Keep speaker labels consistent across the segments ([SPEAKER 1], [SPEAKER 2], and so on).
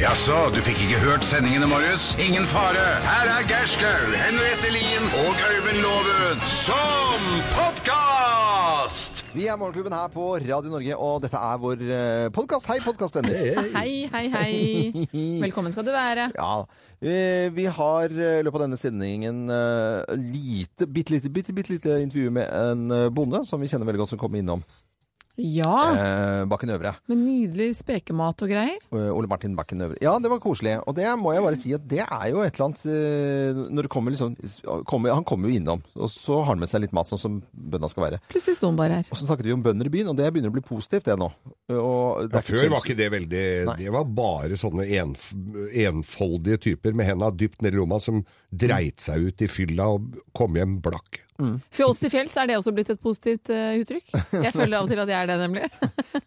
[SPEAKER 1] Jaså, du fikk ikke hørt sendingene, Marius? Ingen fare. Her er Gerskaug, Henriette Lien og Øyvind Låven som podkast!
[SPEAKER 2] Vi er Morgenklubben her på Radio Norge, og dette er vår podkast. Hei, podkastvenner!
[SPEAKER 3] Hei, hei, hei. Velkommen skal du være.
[SPEAKER 2] Ja, eh, vi har eh, i løpet av denne sendingen eh, lite, bitte lite, bitte, bitte lite intervju med en eh, bonde som vi kjenner veldig godt, som kom innom
[SPEAKER 3] Ja,
[SPEAKER 2] eh, Bakken Øvre.
[SPEAKER 3] med nydelig spekemat og greier.
[SPEAKER 2] Eh, Ole Martin Bakken Øvre. Ja, det var koselig. Og det må jeg bare si at det er jo et eller annet eh, Når det kommer liksom kommer, Han kommer jo innom, og så har han med seg litt mat, sånn som bønda skal være.
[SPEAKER 3] Plutselig sto den bare her.
[SPEAKER 2] Og så snakket vi om bønder i byen, og det begynner å bli positivt, det nå. Og det
[SPEAKER 4] Ja,
[SPEAKER 2] er
[SPEAKER 4] før
[SPEAKER 2] så-
[SPEAKER 4] var ikke det veldig
[SPEAKER 2] Nei.
[SPEAKER 4] Det var bare sånne enf enfoldige typer med henda dypt ned i lomma som dreit seg ut i fylla og kom hjem blakk.
[SPEAKER 3] Fjols til fjells, er det også blitt et positivt eh, uttrykk? Jeg føler av og til at jeg er det, nemlig.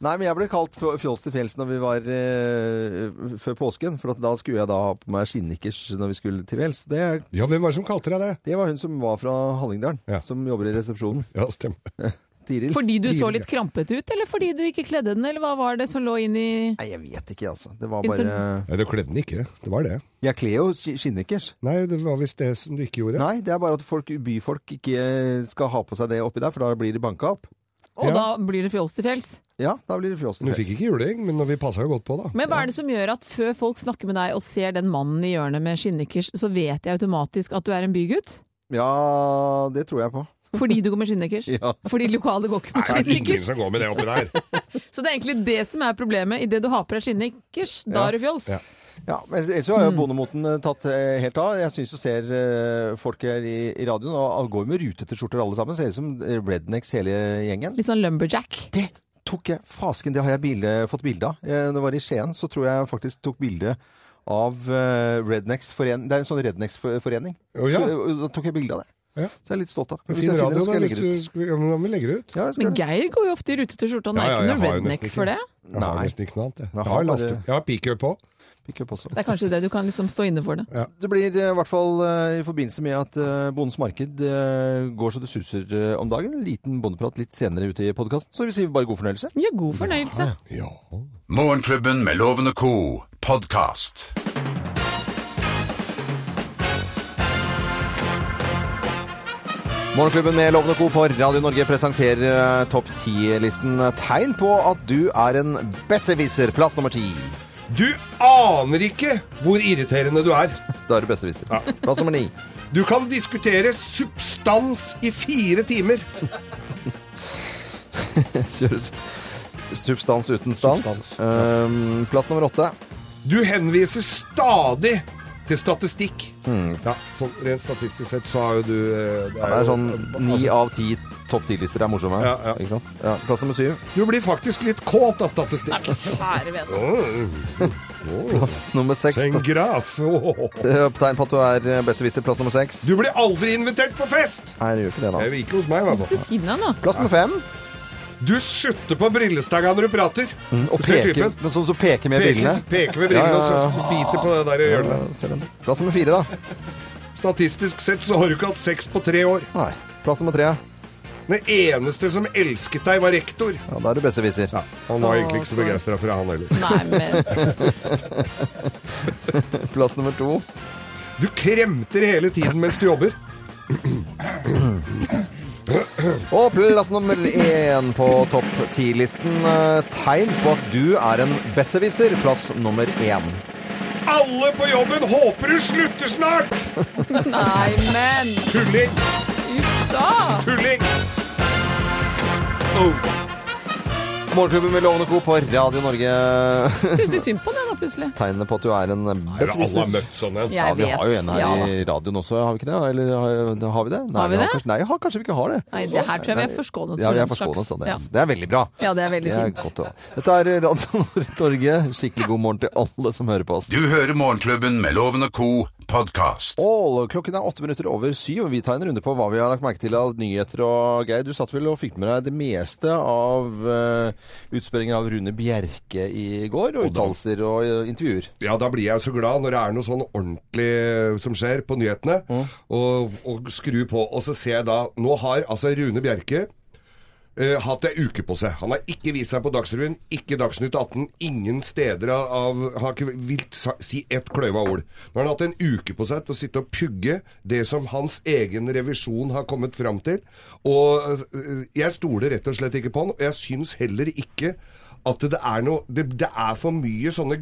[SPEAKER 2] Nei, men jeg ble kalt fjo- fjols til fjells når vi var eh, før påsken, for at da skulle jeg da ha på meg skinnnikkers når vi skulle til fjells. Det,
[SPEAKER 4] Ja, hvem var det som kalte deg det?
[SPEAKER 2] det var hun som var fra Hallingdalen,
[SPEAKER 4] Ja.
[SPEAKER 2] som jobber i resepsjonen.
[SPEAKER 4] Ja, stemmer.
[SPEAKER 2] Tiril.
[SPEAKER 3] Fordi du så litt krampet ut, eller fordi du ikke kledde den, eller hva var det som lå inni
[SPEAKER 2] Nei, jeg vet ikke, altså. Det var
[SPEAKER 3] Intern-
[SPEAKER 2] bare
[SPEAKER 4] Nei, du kledde den ikke. Det var det.
[SPEAKER 2] Jeg kler jo ski- skinnnikkers.
[SPEAKER 4] Nei, det var visst det som du ikke gjorde.
[SPEAKER 2] Nei, det er bare at folk, byfolk ikke skal ha på seg det oppi der, for da blir de banka opp.
[SPEAKER 3] Og
[SPEAKER 4] Ja.
[SPEAKER 3] da blir det fjols til fjells.
[SPEAKER 2] Ja, da blir det fjols
[SPEAKER 4] Du
[SPEAKER 2] til
[SPEAKER 4] fikk
[SPEAKER 2] fjells.
[SPEAKER 4] ikke juling, men vi passa jo godt på, da.
[SPEAKER 3] Men hva er det som gjør at før folk snakker med deg og ser den mannen i hjørnet med skinnnikkers, så vet de automatisk at du er en bygutt?
[SPEAKER 2] Ja, det tror jeg på.
[SPEAKER 3] Fordi du går med skinnnikkers?
[SPEAKER 2] Ja.
[SPEAKER 3] Fordi lokale går ikke med
[SPEAKER 4] Nei, det er ingen
[SPEAKER 3] skinnnikkers?
[SPEAKER 4] som går med det oppi der.
[SPEAKER 3] Så det er egentlig det som er problemet. Idet du har på deg skinnnikkers, da er du fjols.
[SPEAKER 4] Ja.
[SPEAKER 2] Ja, men ellers så har
[SPEAKER 3] Mm.
[SPEAKER 2] jo bondemoten eh, tatt eh, helt av. Jeg syns du ser eh, folk her i, i radioen, og alle går med rutete skjorter alle sammen. Ser ut som eh, rednecks hele gjengen.
[SPEAKER 3] Litt sånn lumberjack.
[SPEAKER 2] Det tok jeg Fasken, det har jeg bilde, fått bilde av. Eh, Når jeg var i Skien, så tror jeg faktisk tok bilde av eh, Rednecks forening. Det er en sånn Rednecks-forening.
[SPEAKER 4] Å, ja.
[SPEAKER 2] Så, eh, Da tok jeg bilde av det.
[SPEAKER 4] Ja.
[SPEAKER 2] Så jeg er litt stolt av.
[SPEAKER 4] Fin
[SPEAKER 2] jeg
[SPEAKER 4] radio,
[SPEAKER 2] det,
[SPEAKER 4] da,
[SPEAKER 2] skal jeg
[SPEAKER 4] hvis
[SPEAKER 2] legge det ut.
[SPEAKER 4] du ja, men om vi legger det ut.
[SPEAKER 2] Ja, jeg skal
[SPEAKER 3] Men
[SPEAKER 2] gjøre det.
[SPEAKER 3] Geir går jo ofte i rutete skjorte, han er
[SPEAKER 4] Ja,
[SPEAKER 3] ikke
[SPEAKER 4] ja, jeg
[SPEAKER 3] noe
[SPEAKER 4] har jo
[SPEAKER 3] redneck
[SPEAKER 4] nesten
[SPEAKER 3] for
[SPEAKER 4] ikke.
[SPEAKER 3] det.
[SPEAKER 4] Jeg har
[SPEAKER 2] Nei.
[SPEAKER 4] nesten ikke noe annet, jeg.
[SPEAKER 2] Jeg
[SPEAKER 4] Jeg
[SPEAKER 2] har
[SPEAKER 4] har,
[SPEAKER 2] bare-
[SPEAKER 4] laste- jeg har pickup på.
[SPEAKER 2] Pick up også.
[SPEAKER 3] Det er kanskje det du kan liksom stå inne for det.
[SPEAKER 2] Det blir eh, i hvert fall eh, i forbindelse med at eh, Bondens marked eh, går så det suser eh, om dagen. En liten bondeprat litt senere ute i podkasten, så vi sier bare god fornøyelse.
[SPEAKER 3] Ja, god fornøyelse.
[SPEAKER 4] Ja.
[SPEAKER 1] Morgenklubben med Loven og co. podkast.
[SPEAKER 2] Morgenklubben med Loven og Co. på Radio Norge presenterer eh, topp ti-listen tegn på at du er en besserwisser. Plass nummer ti.
[SPEAKER 4] Du aner ikke hvor irriterende du er.
[SPEAKER 2] Da er du besserwisser. Plass nummer ni.
[SPEAKER 4] Du kan diskutere substans i fire timer.
[SPEAKER 2] Kjøres. Substans uten stans.
[SPEAKER 4] Substans,
[SPEAKER 2] Eh, plass nummer åtte.
[SPEAKER 4] Du henviser stadig til statistikk. Ja, sånn Rent statistisk sett så har jo du eh,
[SPEAKER 2] Mm. Ja, det er
[SPEAKER 4] jo-
[SPEAKER 2] sånn ni
[SPEAKER 4] altså,
[SPEAKER 2] av ti topp ti-lister er morsomme.
[SPEAKER 4] Ja, ja.
[SPEAKER 2] Ikke sant? Ja, plass nummer syv.
[SPEAKER 4] Du blir faktisk litt kåt av statistikk.
[SPEAKER 3] Kjære venn.
[SPEAKER 2] Plass nummer seks. da.
[SPEAKER 4] graf.
[SPEAKER 2] Eh, Tegn på at du er eh, besserwisser. Plass nummer seks.
[SPEAKER 4] Du blir aldri invitert på fest!
[SPEAKER 2] Nei, det gjør ikke det, da.
[SPEAKER 4] Det er jo ikke hos meg, i hvert
[SPEAKER 3] Du
[SPEAKER 4] fall.
[SPEAKER 3] sier deg nå.
[SPEAKER 2] Plass nummer fem.
[SPEAKER 4] Du sutter på brillestanga når du prater.
[SPEAKER 2] Mm, Og
[SPEAKER 4] Du ser
[SPEAKER 2] peker,
[SPEAKER 4] typen.
[SPEAKER 2] men sånn som peker med brillene.
[SPEAKER 4] Peker, peker med brillene
[SPEAKER 2] Ja, ja, ja.
[SPEAKER 4] og så biter på det der i
[SPEAKER 2] Ja,
[SPEAKER 4] hjørnet.
[SPEAKER 2] ser den. Plass nummer fire, da.
[SPEAKER 4] Statistisk sett så har du ikke hatt sex på tre år.
[SPEAKER 2] Nei. Plass nummer tre.
[SPEAKER 4] Den eneste som elsket deg, var rektor.
[SPEAKER 2] Ja, da er du besserwisser.
[SPEAKER 4] Ja, han var egentlig ikke så begeistra for det, han heller.
[SPEAKER 3] Nei, men
[SPEAKER 2] Plass nummer to.
[SPEAKER 4] Du kremter hele tiden mens du jobber.
[SPEAKER 2] Og plass nummer én på topp ti-listen. eh, Tegn på at du er en besserwisser. Plass nummer én.
[SPEAKER 4] Alle på jobben håper du slutter snart!
[SPEAKER 3] Nei, men
[SPEAKER 4] Tulling,
[SPEAKER 3] Uff da!
[SPEAKER 4] tulling! Oh.
[SPEAKER 2] Morgenklubben med Lovende Co. på Radio Norge.
[SPEAKER 3] Syns litt synd på den da, plutselig.
[SPEAKER 2] Tegnet på at du er en
[SPEAKER 4] Er det alle har
[SPEAKER 2] besserwisser.
[SPEAKER 4] møtt sånn en?
[SPEAKER 2] Ja,
[SPEAKER 3] Jeg
[SPEAKER 2] vi
[SPEAKER 3] vet.
[SPEAKER 2] har jo en her
[SPEAKER 3] Ja, da.
[SPEAKER 2] i radioen også, har vi ikke det? Eller eh, har, har vi det? Nei,
[SPEAKER 3] Har vi det?
[SPEAKER 2] Kanskje, nei, jeg har, kanskje vi ikke har det.
[SPEAKER 3] Nei, det her tror jeg vi er
[SPEAKER 2] Nei,
[SPEAKER 3] forskånet for
[SPEAKER 2] Ja, vi er
[SPEAKER 3] den slags.
[SPEAKER 2] forskånet sånn, det.
[SPEAKER 3] Ja.
[SPEAKER 2] altså. Det er veldig bra.
[SPEAKER 3] Ja, det er veldig
[SPEAKER 2] Det er
[SPEAKER 3] fint.
[SPEAKER 2] godt å Dette er Radio Norge. Skikkelig god morgen til alle som hører på oss.
[SPEAKER 1] Du hører Morgenklubben med Loven og co. podkast.
[SPEAKER 2] Ål, klokken er åtte minutter over syv, og vi tar en runde på hva vi har lagt merke til av nyheter. Og Geir, du satt vel og fikk med deg det meste av uh, utspørringen av Rune Bjerke i går, og uttalelser og eh, intervjuer.
[SPEAKER 4] Ja, da blir jeg jo så glad når det er noe sånn ordentlig som skjer på nyhetene, og, og skru på. Og så ser jeg da Nå har altså Rune Bjerke eh, hatt ei uke på seg. Han har ikke vist seg på Dagsrevyen, ikke Dagsnytt 18, ingen steder av, av Har ikke vilt sa- si ett kløyva ord. Nå har han hatt en uke på seg til å sitte og pugge det som hans egen revisjon har kommet fram til. Og eh, jeg stoler rett og slett ikke på han, og jeg syns heller ikke at det er noe Det, det er for mye sånne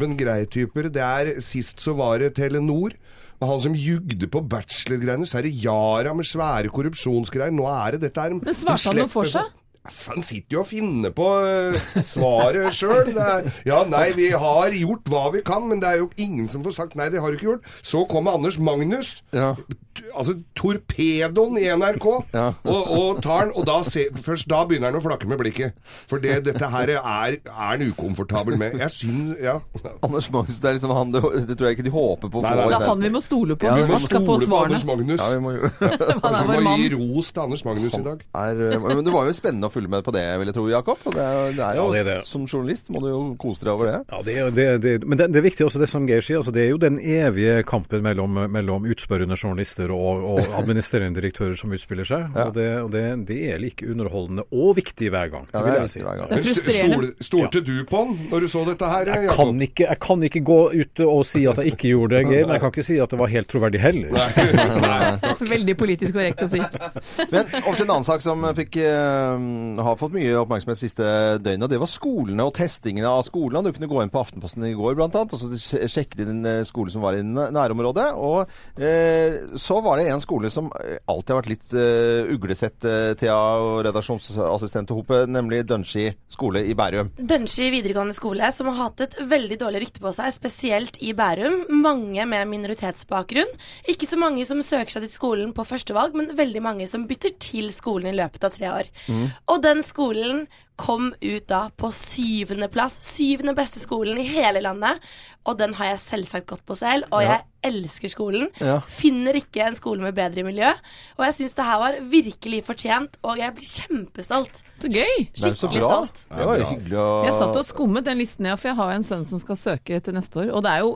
[SPEAKER 4] gutteklubben-greietyper. Det er Sist så var det Telenor. Og han som jugde på bachelorgreiene, så er det Yara med svære korrupsjonsgreier. Nå er det dette her
[SPEAKER 3] Men svarte han noe for seg?
[SPEAKER 4] Altså, han sitter jo og finner på eh, svaret sjøl. Ja, nei, vi har gjort hva vi kan, men det er jo ingen som får sagt nei, det har du ikke gjort. Så kommer Anders Magnus,
[SPEAKER 2] Ja.
[SPEAKER 4] t- altså torpedoen i NRK,
[SPEAKER 2] Ja.
[SPEAKER 4] og, og tar den, og da se, først da begynner han å flakke med blikket. For det, dette her er, er han ukomfortabel med. Jeg syns Ja.
[SPEAKER 2] Anders Magnus, det er liksom han det, det tror jeg ikke de håper på å få.
[SPEAKER 4] Nei, nei,
[SPEAKER 3] Det
[SPEAKER 2] i
[SPEAKER 3] er
[SPEAKER 2] den-
[SPEAKER 3] han vi må stole på
[SPEAKER 2] Ja,
[SPEAKER 3] når
[SPEAKER 2] vi må
[SPEAKER 3] man skal få
[SPEAKER 4] Stole på
[SPEAKER 3] svarene.
[SPEAKER 4] Anders Magnus.
[SPEAKER 2] Ja, vi må jo
[SPEAKER 3] Han er
[SPEAKER 4] Vi
[SPEAKER 3] vår
[SPEAKER 4] må gi
[SPEAKER 3] mann.
[SPEAKER 4] ros til Anders Magnus i dag.
[SPEAKER 2] er, eh, men det var jo spennende å følge med på det, vil jeg tro, Jakob. Og det er, det er jo,
[SPEAKER 5] Ja, det er det.
[SPEAKER 2] Som journalist må du jo kose deg over det.
[SPEAKER 5] Ja, det, er- det, er- det, er- men det, det er viktig også det som Geir sier. Altså, det er jo den evige kampen mellom, mellom utspørrende journalister og, og administrerende direktører som utspiller seg. Og, det, og det, det er like underholdende og viktig hver gang.
[SPEAKER 2] Ja, det
[SPEAKER 5] vil
[SPEAKER 2] er
[SPEAKER 5] jeg si.
[SPEAKER 2] viktig hver gang.
[SPEAKER 3] Det er frustrerende.
[SPEAKER 4] Stol- Stolte du på han når du så dette her?
[SPEAKER 5] Jeg
[SPEAKER 4] Jakob?
[SPEAKER 5] kan, ikke, jeg kan ikke gå ut og si at jeg ikke gjorde det, Geir, men jeg kan ikke si at det var helt troverdig heller.
[SPEAKER 3] Veldig politisk korrekt å si.
[SPEAKER 2] Men over til en annen sak som fikk, eh, har fått mye oppmerksomhet siste døgnet. og Det var skolene og testingen av skolene. Du kunne gå inn på Aftenposten i går blant annet, og så sj- sjekket de en eh, skole som var i næ- nærområdet. Og eh, så var det en skole som eh, alltid har vært litt eh, uglesett, eh, Thea og redaksjonsassistent Hope, nemlig Dønski skole i Bærum.
[SPEAKER 6] Dønski videregående skole, som har hatt et veldig dårlig rykte på seg, spesielt i Bærum. Mange med minoritetsbakgrunn. Ikke så mange som søker seg til skolen på førstevalg, men veldig mange som bytter til skolen i løpet av tre år.
[SPEAKER 2] Mm.
[SPEAKER 6] Og den skolen kom ut da på syvendeplass. Syvende beste skolen i hele landet. Og den har jeg selvsagt gått på selv, og jeg elsker skolen.
[SPEAKER 2] Ja.
[SPEAKER 6] Finner ikke en skole med bedre miljø. Og jeg syns det her var virkelig fortjent, og jeg blir kjempestolt.
[SPEAKER 3] Så gøy!
[SPEAKER 2] Det er jo så
[SPEAKER 6] Skikkelig
[SPEAKER 2] bra.
[SPEAKER 6] stolt.
[SPEAKER 2] Det var jo hyggelig å
[SPEAKER 3] Jeg satt og skummet den listen, ja, for jeg har jo en sønn som skal søke til neste år. Og det er jo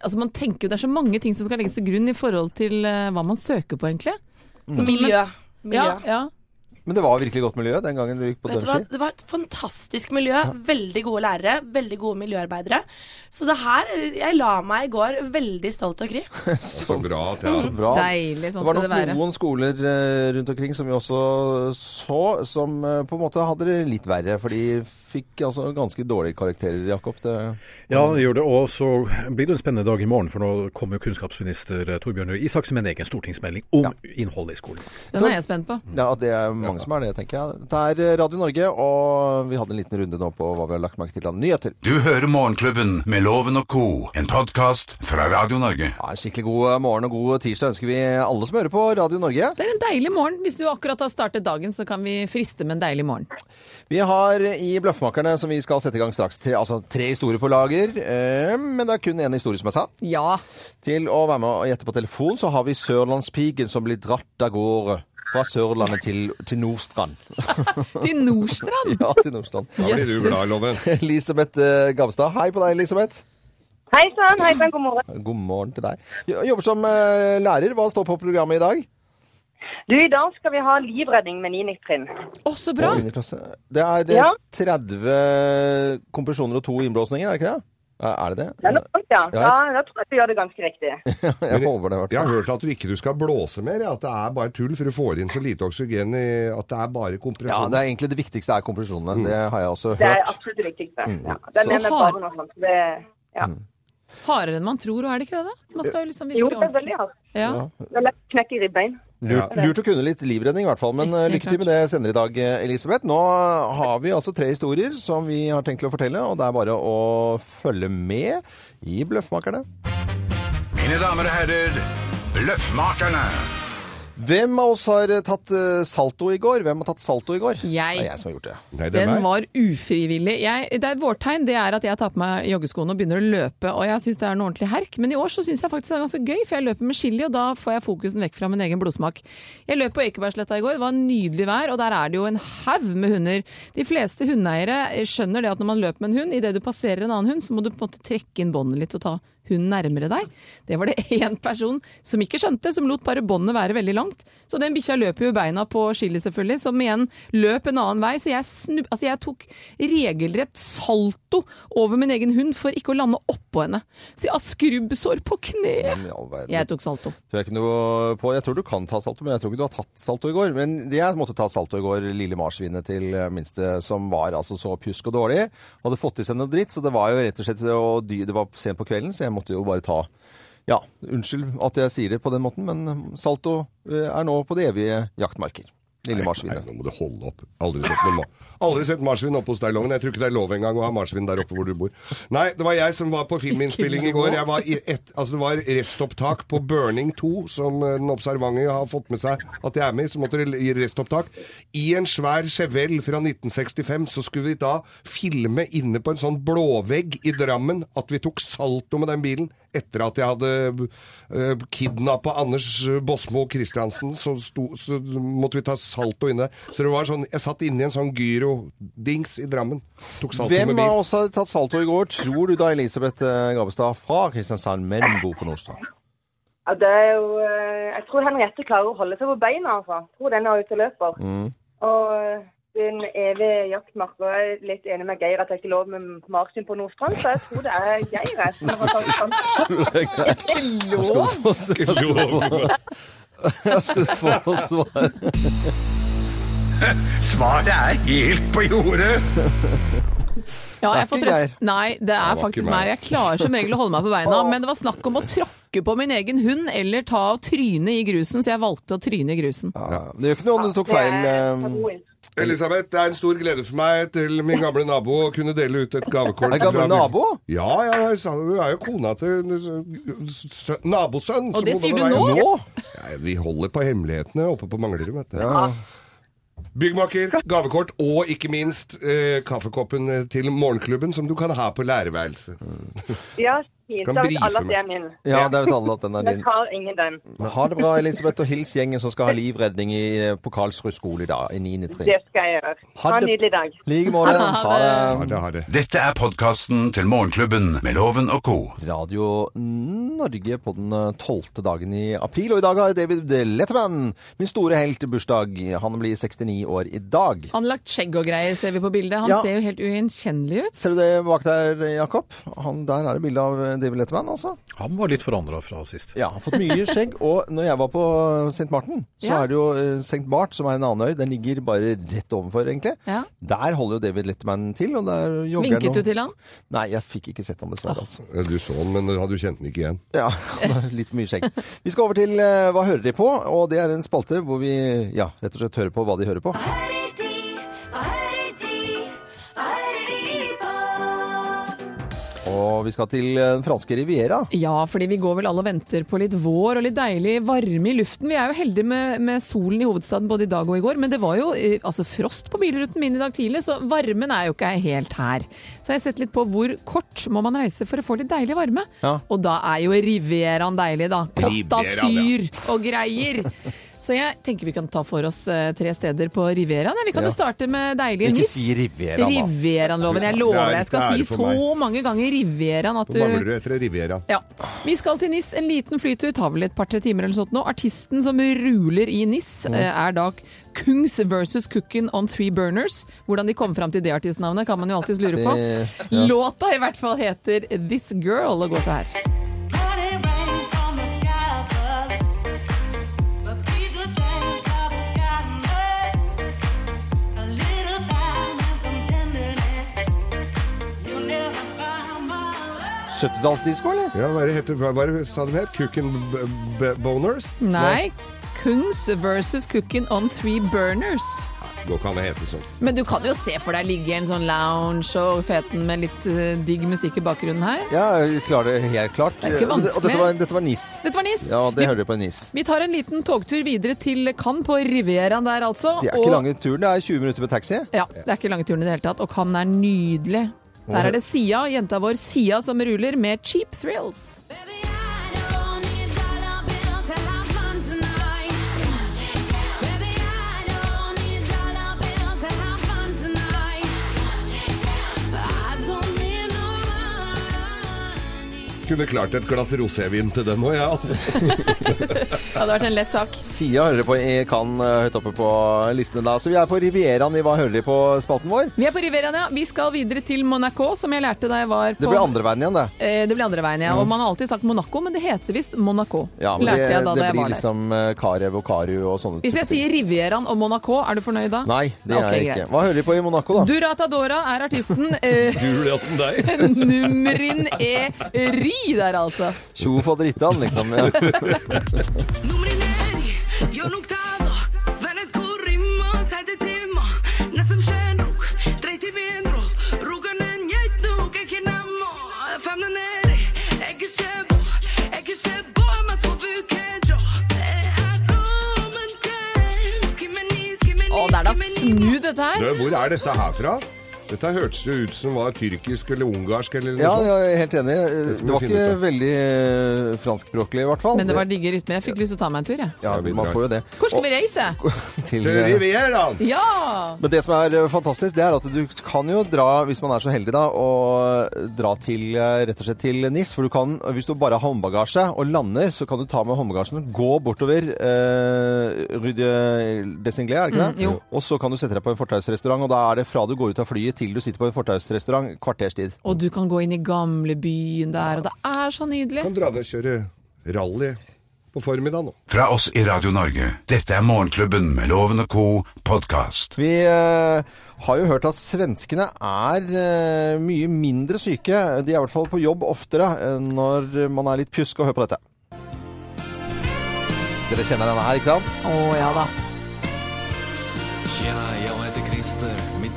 [SPEAKER 3] Altså Man tenker jo det er så mange ting som skal legges til grunn i forhold til eh, hva man søker på, egentlig.
[SPEAKER 6] Miljø. Miljø.
[SPEAKER 3] Ja, ja.
[SPEAKER 2] Men det var virkelig godt miljø den gangen du gikk på
[SPEAKER 6] Vet du hva?
[SPEAKER 2] Dønski?
[SPEAKER 6] Det var et fantastisk miljø. Veldig gode lærere, veldig gode miljøarbeidere. Så det her Jeg la meg i går veldig stolt og kry.
[SPEAKER 4] Så bra at jeg
[SPEAKER 2] Så bra.
[SPEAKER 3] Deilig, sånn
[SPEAKER 2] Det
[SPEAKER 3] skal
[SPEAKER 2] var nok
[SPEAKER 3] det være.
[SPEAKER 2] noen skoler eh, rundt omkring som vi også så, som eh, på en måte hadde det litt verre. For de fikk altså ganske dårlige karakterer, Jakob. Det,
[SPEAKER 5] Ja, det gjør det. Og så blir det en spennende dag i morgen, for nå kommer jo kunnskapsminister Torbjørn Røe Isaksen med en egen stortingsmelding om innholdet i skolen.
[SPEAKER 3] Den er jeg spent på.
[SPEAKER 2] ja, det er mange som er det, tenker jeg. Det er eh, Radio Norge, og vi hadde en liten runde nå på hva vi har lagt merke til av nyheter.
[SPEAKER 1] Du hører Morgenklubben med Loven og Co., en podkast fra Radio Norge.
[SPEAKER 2] Ja, en skikkelig god eh, morgen og god tirsdag ønsker vi alle som hører på Radio Norge.
[SPEAKER 3] Det er en deilig morgen. Hvis du akkurat har startet dagen, så kan vi friste med en deilig morgen.
[SPEAKER 2] Vi har eh, i Bløffmakerne, som vi skal sette i gang straks, tre, altså tre historier på lager. eh, Men det er kun én historie som er sann.
[SPEAKER 3] Ja.
[SPEAKER 2] Til å være med og gjette på telefon, så har vi Sørlandspiken som blir dratt av gårde. Fra Sørlandet til, til Nordstrand.
[SPEAKER 3] Til Nordstrand!
[SPEAKER 2] Ja, til Nordstrand.
[SPEAKER 4] Da blir du
[SPEAKER 3] Jøsses.
[SPEAKER 4] glad, Loven.
[SPEAKER 2] Elisabeth eh, Gamstad. Hei på deg, Elisabeth.
[SPEAKER 7] Hei sann, hei sann, god morgen.
[SPEAKER 2] God morgen til deg. Jo- Jobber som eh, lærer. Hva står på programmet i dag?
[SPEAKER 7] Du, I dag skal vi ha livredning med 9. trinn.
[SPEAKER 3] Å, så bra!
[SPEAKER 2] Ingen i klasse. Det er eh,
[SPEAKER 7] Ja.
[SPEAKER 2] 30 kompresjoner og to innblåsninger, er det ikke det? Er er det det?
[SPEAKER 7] Er det sant, ja?
[SPEAKER 2] Ja.
[SPEAKER 7] Ja, da tror jeg du gjør det ganske riktig.
[SPEAKER 2] Jeg håper det, i hvert
[SPEAKER 4] Jeg har
[SPEAKER 2] fall.
[SPEAKER 4] hørt at du ikke du skal blåse mer, ja, at det er bare tull, for du får inn så lite oksygen i at det er bare
[SPEAKER 2] Ja,
[SPEAKER 4] kompresjon.
[SPEAKER 2] det er egentlig det viktigste er kompresjonene. Det har jeg også
[SPEAKER 7] Det er
[SPEAKER 2] hørt.
[SPEAKER 7] absolutt det viktigste.
[SPEAKER 2] Mm.
[SPEAKER 7] Ja.
[SPEAKER 3] Så
[SPEAKER 7] Den er med
[SPEAKER 3] hard.
[SPEAKER 7] barn og sånt. så Det, ja.
[SPEAKER 3] Hardere enn man tror, og er det ikke det? da? Man skal jo liksom
[SPEAKER 7] Jo,
[SPEAKER 3] virkelig
[SPEAKER 7] det er veldig hardt.
[SPEAKER 3] Ja.
[SPEAKER 7] Det er lett å knekke i ribbein.
[SPEAKER 2] Lurt, lurt å kunne litt livredning i hvert fall, men eh,
[SPEAKER 3] Helt
[SPEAKER 2] lykke til med det senere i dag, eh, Elisabeth. Nå har vi altså tre historier som vi har tenkt til å fortelle, og det er bare å følge med i Bløffmakerne.
[SPEAKER 1] Mine damer og herrer, Bløffmakerne.
[SPEAKER 2] Hvem av oss har eh, tatt eh, salto i går? Hvem har tatt salto i går?
[SPEAKER 3] Jeg.
[SPEAKER 2] Det er jeg som har gjort det.
[SPEAKER 4] Nei, det er
[SPEAKER 3] Den
[SPEAKER 4] meg.
[SPEAKER 3] var ufrivillig. Jeg, det er et vårtegn det er at jeg tar på meg joggeskoene og begynner å løpe, og jeg syns det er en ordentlig herk. Men i år så syns jeg faktisk det er ganske gøy, for jeg løper med chili, og da får jeg fokusen vekk fra min egen blodsmak. Jeg løp på Ekebergsletta i går, det var nydelig vær, og der er det jo en haug med hunder. De fleste hundeeiere skjønner det at når man løper med en hund, idet du passerer en annen hund, så må du på en måte trekke inn båndet litt og ta hun nærmere deg. Det var det én person som ikke skjønte, som lot bare båndet være veldig langt. Så den bikkja løp jo i beina på Chili selvfølgelig, som igjen løp en annen vei. Så jeg, snu, altså jeg tok regelrett salto over min egen hund for ikke å lande oppå henne. Så jeg har skrubbsår på kneet.
[SPEAKER 2] I all verden.
[SPEAKER 3] Jeg tok salto.
[SPEAKER 2] tror jeg, ikke noe på. jeg tror du kan ta salto, men jeg tror ikke du har tatt salto i går. Men jeg måtte ta salto i går, lille marsvinet til eh, minste, som var altså så pjusk og dårlig. Hadde fått i seg noe dritt, så det var jo rett og slett og dy- Det var sent på kvelden, så jeg måtte jo bare ta Ja, unnskyld at jeg sier det på den måten, men salto eh, er nå på det evige jaktmarker. Lille
[SPEAKER 4] Nei,
[SPEAKER 2] marsvinet.
[SPEAKER 4] nå må du holde opp. Aldri sett, noe ma- Aldri sett marsvin oppe hos deg, Loven. Jeg tror ikke det er lov engang å ha marsvin der oppe hvor du bor. Nei, det var jeg som var på filminnspilling i går. Jeg var i et, altså det var restopptak på Burning 2, som eh, den observante har fått med seg at jeg er med i. Så måtte det i restopptak. I en svær Chevelle fra 1965 så skulle vi da filme inne på en sånn blåvegg i Drammen at vi tok salto med den bilen etter at jeg hadde uh, kidnappa Anders Båsmo Christiansen, så, sto, så måtte vi ta salto inne. Så det var sånn, jeg satt inne i en sånn gyrodings i Drammen. Tok salto
[SPEAKER 2] Hvem
[SPEAKER 4] med
[SPEAKER 2] av
[SPEAKER 4] bil.
[SPEAKER 2] oss hadde tatt salto i går, tror du da, Elisabeth eh, Gabbestad fra Kristiansand, men bor på Nordstrand?
[SPEAKER 7] Ja, det er jo, eh, jeg tror Henriette klarer å holde seg på beina. Altså. Jeg tror den er ute og løper.
[SPEAKER 2] Mm.
[SPEAKER 7] Og eh, det er en evig jaktmark. Og jeg er litt enig med Geir at jeg ikke er lov med marsvin på Nordstrand, så jeg tror det er Geir. jeg, som har tatt sånn.
[SPEAKER 2] Skal du få, skal du få, skal du få svar?
[SPEAKER 1] Svaret er helt på jordet.
[SPEAKER 3] Ja,
[SPEAKER 2] Det er
[SPEAKER 3] jeg får
[SPEAKER 2] ikke
[SPEAKER 3] trøst.
[SPEAKER 2] Geir.
[SPEAKER 3] Nei, det er
[SPEAKER 4] var
[SPEAKER 3] faktisk
[SPEAKER 4] ikke
[SPEAKER 3] meg.
[SPEAKER 4] meg.
[SPEAKER 3] og Jeg klarer som regel å holde meg på beina, men det var snakk om å tråkke på min egen hund eller ta og tryne i grusen, så jeg valgte å tryne i grusen.
[SPEAKER 2] Ja, det gjør ikke noe om du tok feil.
[SPEAKER 7] Det er
[SPEAKER 2] eh,
[SPEAKER 7] tabuin.
[SPEAKER 4] Elisabeth, det er en stor glede for meg til min gamle nabo å kunne dele ut et gavekort.
[SPEAKER 2] Er det gamle
[SPEAKER 4] fra-
[SPEAKER 2] nabo?
[SPEAKER 4] Ja, ja, jeg sa- hun er jo kona til sø- nabosønn.
[SPEAKER 3] Og
[SPEAKER 4] så
[SPEAKER 3] det
[SPEAKER 4] bodde
[SPEAKER 3] sier du
[SPEAKER 4] ved
[SPEAKER 3] nå?
[SPEAKER 4] veien.
[SPEAKER 2] Nå?
[SPEAKER 4] Nei, vi holder på hemmelighetene oppe på Manglerud, vet du. Byggmaker, gavekort og ikke minst eh, kaffekoppen til morgenklubben som du kan ha på lærerværelset.
[SPEAKER 7] Ja, fint.
[SPEAKER 4] Kan
[SPEAKER 7] Da vet
[SPEAKER 4] brife
[SPEAKER 7] alle at det
[SPEAKER 4] meg.
[SPEAKER 7] er min.
[SPEAKER 2] Ja, det vet alle at den er
[SPEAKER 7] Jeg
[SPEAKER 2] din.
[SPEAKER 7] tar ingen den.
[SPEAKER 2] Ha det bra, Elisabeth, og hils gjengen som skal ha livredning i, eh, på Karlsrud skole i dag, i 9. trinn.
[SPEAKER 7] Det skal jeg gjøre.
[SPEAKER 2] Ha
[SPEAKER 7] Ha en
[SPEAKER 2] det.
[SPEAKER 7] nydelig dag.
[SPEAKER 2] Like måte. Ha
[SPEAKER 4] Ja,
[SPEAKER 2] det.
[SPEAKER 4] det har det.
[SPEAKER 1] Dette er podkasten til Morgenklubben med Loven og co.
[SPEAKER 2] Radio Norge på den eh, tolvte dagen i april, og i dag har David Letterman, min store helt, bursdag. Han blir 69 år i dag.
[SPEAKER 3] Han har lagt skjegg og greier, ser vi på bildet. Han
[SPEAKER 2] Ja.
[SPEAKER 3] ser jo helt ugjenkjennelig ut.
[SPEAKER 2] Ser du det bak der, Jakob? Han, der er det bilde av David Letterman, altså.
[SPEAKER 5] Han var litt forandra fra sist.
[SPEAKER 2] Ja, han har fått mye skjegg. Og når jeg var på St. Martin, så
[SPEAKER 3] Ja.
[SPEAKER 2] er det jo eh, St. Bart, som er en annen øy. Den ligger bare rett ovenfor, egentlig.
[SPEAKER 3] Ja.
[SPEAKER 2] Der holder jo David Letterman til, og der jogger
[SPEAKER 3] Vinket du til han?
[SPEAKER 2] Nei, jeg fikk ikke sett han dessverre, altså.
[SPEAKER 4] Ja, Du så den, men du hadde jo kjent den ikke igjen.
[SPEAKER 2] Ja, han har litt for mye skjegg. Vi skal over til eh, Hva hører de på? Og det er en spalte hvor vi ja, rett og slett hører på hva de hører på.
[SPEAKER 8] hører de, hva hører de, hva hører de på?
[SPEAKER 2] Og vi skal til eh, den franske riviera.
[SPEAKER 3] Ja, fordi vi går vel alle og venter på litt vår og litt deilig varme i luften. Vi er jo heldige med, med solen i hovedstaden både i dag og i går, men det var jo eh, altså frost på bilruten min i dag tidlig, så varmen er jo ikke helt her. Så har jeg sett litt på hvor kort må man reise for å få litt deilig varme.
[SPEAKER 2] Ja.
[SPEAKER 3] Og da er jo Rivieraen deilig, da. Cotta Syr og greier. Så jeg tenker vi kan ta for oss eh, tre steder på Rivieraen. Ja, Vi kan
[SPEAKER 2] Ja.
[SPEAKER 3] jo starte med deilige
[SPEAKER 2] Ikke
[SPEAKER 3] Nice.
[SPEAKER 2] si Rivieraen, da.
[SPEAKER 3] Rivieraen-loven. Jeg lover
[SPEAKER 4] Det er
[SPEAKER 3] deg, jeg skal
[SPEAKER 4] litt ære
[SPEAKER 3] si
[SPEAKER 4] for
[SPEAKER 3] så
[SPEAKER 4] meg.
[SPEAKER 3] mange ganger Rivieraen at
[SPEAKER 4] Nå mangler du etter Riviera.
[SPEAKER 3] ja. Vi skal til NIS. En liten flytur tar vel et par-tre timer eller sånt nå. Artisten som ruler i NIS, eh, er da Kungs versus Cookin on Three Burners. Hvordan de kom fram til det artistnavnet, kan man jo alltids lure på.
[SPEAKER 2] Det-
[SPEAKER 3] Låta i hvert fall heter This Girl og går så her.
[SPEAKER 9] Tenderness.
[SPEAKER 2] 70-tallsdisko, eller?
[SPEAKER 4] Ja, hva, er det heter, hva, hva er det sa de het? Cookin' b- b- Boners?
[SPEAKER 3] Nei. Kungs versus Cookin on Three Burners.
[SPEAKER 4] Nå kan det hete sånn.
[SPEAKER 3] Men du kan jo se for deg ligge i en sånn lounge og feten med litt eh, digg musikk i bakgrunnen her.
[SPEAKER 2] Ja, jeg klarer det helt klart.
[SPEAKER 3] er ikke
[SPEAKER 2] Og det- Og dette
[SPEAKER 3] vanskelig.
[SPEAKER 2] var, dette var NIS.
[SPEAKER 3] Dette var NIS.
[SPEAKER 2] Ja,
[SPEAKER 3] Vi-
[SPEAKER 2] det hører de på i NIS.
[SPEAKER 3] Vi tar en liten togtur videre til Cannes på Rivieraen der, altså.
[SPEAKER 2] Det er
[SPEAKER 3] og-
[SPEAKER 2] ikke lange turen, det er 20 minutter med taxi.
[SPEAKER 3] Ja, det er ikke lange turen i det hele tatt, og Cannes er nydelig. Der er det Sia, jenta vår Sia, som ruler med Cheap Thrills.
[SPEAKER 8] Baby, er I don't need dollar bills to have fun tonight. Baby, er I don't need dollar bills to have fun tonight. I don't need no money.
[SPEAKER 4] skulle klart et glass rosévin til den òg, jeg, altså.
[SPEAKER 3] Det hadde vært en lett sak.
[SPEAKER 2] Sia hører på i Cannes eh, høyt oppe på listene da. Så vi er på Rivieraen i Hva hører de på spalten vår.
[SPEAKER 3] Vi er på Riveraen, ja. Vi skal videre til Monaco, som jeg lærte da jeg var på
[SPEAKER 2] Det blir andre veien igjen, det.
[SPEAKER 3] Eh, Det ble andre veien, ja. Og man har alltid sagt Monaco, men det heter visst Monaco.
[SPEAKER 2] Ja, men
[SPEAKER 3] lærte
[SPEAKER 2] det,
[SPEAKER 3] jeg da
[SPEAKER 2] det
[SPEAKER 3] da jeg
[SPEAKER 2] blir
[SPEAKER 3] var der.
[SPEAKER 2] liksom eh, Karev og Karu og sånne
[SPEAKER 3] Hvis jeg
[SPEAKER 2] typer ting.
[SPEAKER 3] sier Rivieraen og Monaco, er du fornøyd da?
[SPEAKER 2] Nei, det
[SPEAKER 3] Ok,
[SPEAKER 2] er jeg ikke.
[SPEAKER 3] greit.
[SPEAKER 2] Hva hører de på i Monaco, da?
[SPEAKER 3] Durata Dora er artisten. Eh, Nummerin er ri der, altså.
[SPEAKER 2] Tjo fadderittan, liksom. Ja.
[SPEAKER 3] Å, det er da smooth, dette
[SPEAKER 4] Du,
[SPEAKER 3] her.
[SPEAKER 4] hvor er dette her fra? Dette hørtes jo ut som var tyrkisk eller ungarsk eller noe
[SPEAKER 2] ja,
[SPEAKER 4] sånt.
[SPEAKER 2] jeg er helt enig. Eh, Det var
[SPEAKER 4] finne
[SPEAKER 2] ikke
[SPEAKER 4] ut av.
[SPEAKER 2] veldig eh, franskspråklig, i hvert fall.
[SPEAKER 3] Men det var digge rytmer. Jeg fikk lyst til å ta meg en tur, jeg.
[SPEAKER 2] Ja, man får jo det.
[SPEAKER 3] Hvor skal vi reise?
[SPEAKER 2] Og- Til,
[SPEAKER 4] Til
[SPEAKER 2] eh,
[SPEAKER 4] Rivieraen!
[SPEAKER 3] Ja!
[SPEAKER 2] Men det som er eh, fantastisk, det er at du kan jo dra, hvis man er så heldig da, og dra til, eh, rett og slett til NIS. For du kan, hvis du bare har håndbagasje og lander, så kan du ta med håndbagasjen og gå bortover eh, Rue de Desinglé, er det ikke det?
[SPEAKER 3] Mm, jo.
[SPEAKER 2] Og så kan du sette deg på en fortausrestaurant, og da er det fra du går ut av flyet til du sitter på en fortausrestaurant, kvarters tid.
[SPEAKER 3] Og du kan gå inn i gamlebyen der, og det er så nydelig.
[SPEAKER 4] Kan dra ned og kjøre rally på formiddagen nå.
[SPEAKER 1] Fra oss i Radio Norge. Dette er Morgenklubben med Loven og co. podkast.
[SPEAKER 2] Vi eh, har jo hørt at svenskene er eh, mye mindre syke. De er i hvert fall på jobb oftere eh, når man er litt pjusk. Og hør på dette. Dere kjenner denne her, ikke sant?
[SPEAKER 3] Å ja da.
[SPEAKER 10] Tjena, jag heter Christer. Mitt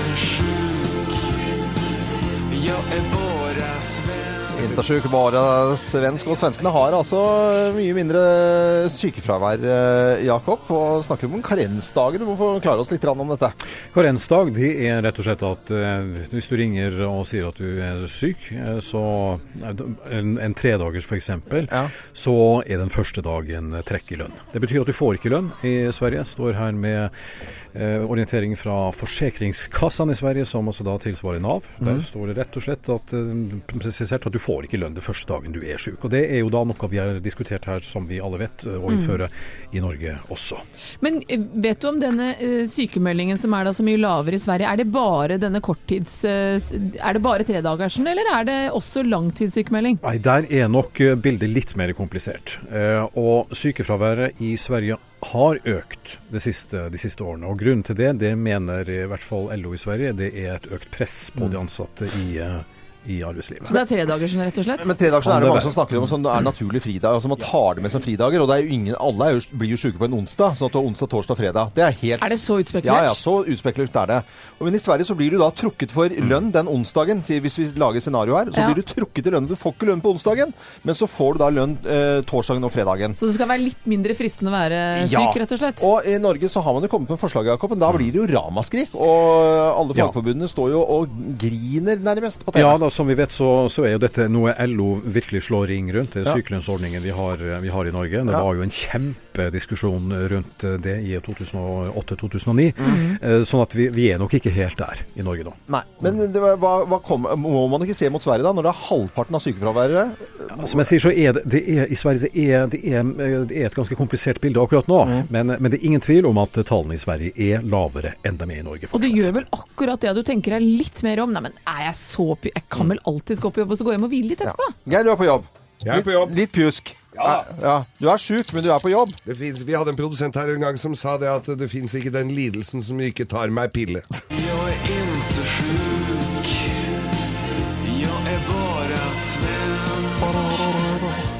[SPEAKER 10] sjuk. Jag är bara svensk.
[SPEAKER 2] Intersjuk bare svensk. Og svenskene har altså mye mindre sykefravær, eh, Jakob. Og snakker om karensdager. Du må forklare oss litt grann om dette.
[SPEAKER 5] Karensdag det er rett og slett at eh, hvis du ringer og sier at du er syk, eh, så en, en tredagers f.eks.,
[SPEAKER 2] Ja.
[SPEAKER 5] så er den første dagen eh, trekk i lønn. Det betyr at du får ikke lønn i Sverige. Står her med eh, orientering fra Forsikringskassan i Sverige, som altså da tilsvarer Nav. Der står det rett og slett at, eh, presisert at du får ikke lønn den første dagen du er syk. Og det er jo da noe vi har diskutert her, som vi alle vet, eh, å innføre i Norge også.
[SPEAKER 3] Men eh, vet du om denne eh, sykemeldingen som er da så mye lavere i Sverige, er det bare denne korttids... eh, s- Er det bare tredagersen, eller er det også langtidssykemelding?
[SPEAKER 5] Nei, der er nok eh, bildet litt mer komplisert. Eh, og sykefraværet i Sverige har økt de siste, de siste årene. Og grunnen til det, det mener i hvert fall LO i Sverige, det er et økt press på de ansatte i, eh, i arbeidslivet.
[SPEAKER 3] Så det er tredagersen, rett og slett?
[SPEAKER 2] Men
[SPEAKER 5] Kan det
[SPEAKER 2] tredagsdagen er det mange
[SPEAKER 5] være?
[SPEAKER 2] som snakker om som er naturlig fridag, og som man tar det med som fridager. Og det er jo ingen, alle er jo, blir jo syke på en onsdag, sånn at du har onsdag, torsdag, fredag. Det er helt
[SPEAKER 3] Er det så utspekulert?
[SPEAKER 2] Ja, ja, så utspekulert er det. Og men i Sverige så blir du da trukket for
[SPEAKER 5] Mm.
[SPEAKER 2] lønn den onsdagen, sier hvis vi lager scenario her. Så
[SPEAKER 3] Ja.
[SPEAKER 2] blir du trukket i lønn. Du får ikke lønn på onsdagen, men så får du da lønn eh, torsdagen og fredagen.
[SPEAKER 3] Så det skal være litt mindre fristende å være Eh, syk, rett og slett?
[SPEAKER 2] Og i Norge så har man jo kommet med forslag, Jakob, men da blir det jo ramaskrik. Og alle
[SPEAKER 5] Mm. Ja.
[SPEAKER 2] fagforbundene står jo og griner nærmest på TV.
[SPEAKER 5] Ja, da, som vi vet så, så er jo dette noe LO virkelig slår ring rundt. Det er
[SPEAKER 2] Ja.
[SPEAKER 5] sykelønnsordningen vi har, eh, vi har i Norge. Det
[SPEAKER 2] Ja.
[SPEAKER 5] var jo en kjempediskusjon rundt eh, det i 2008-2009.
[SPEAKER 2] Mhm.
[SPEAKER 5] Eh, Sånn at vi, vi er nok ikke helt der i Norge nå.
[SPEAKER 2] Nei, men det, var- hva, hva kom, må man ikke se mot Sverige da, når det er halvparten av sykefraværet?
[SPEAKER 5] Som jeg sier, så er det, det er, i Sverige det er, det, er, eh, det er et ganske komplisert bilde akkurat nå.
[SPEAKER 3] Mm.
[SPEAKER 5] Men, eh, men det er ingen tvil om at tallene i Sverige er lavere enn de er i Norge.
[SPEAKER 3] Og det
[SPEAKER 5] fortsatt.
[SPEAKER 3] gjør vel akkurat det at du tenker deg litt mer om. Nei, men er jeg så py... Jeg kan
[SPEAKER 2] Mm.
[SPEAKER 3] vel alltids gå på jobb og så gå hjem og hvile litt etterpå?
[SPEAKER 2] Geir, du er på jobb.
[SPEAKER 4] Jeg er på jobb.
[SPEAKER 2] Litt, litt pjusk.
[SPEAKER 4] Ja.
[SPEAKER 2] Nei, ja. Du er sjuk, men du er på jobb.
[SPEAKER 4] Det finnes, vi hadde en produsent her en gang som sa det at det fins ikke den lidelsen som ikke tar meg pille.
[SPEAKER 10] Jag är inte sjuk. Jag är bara svensk.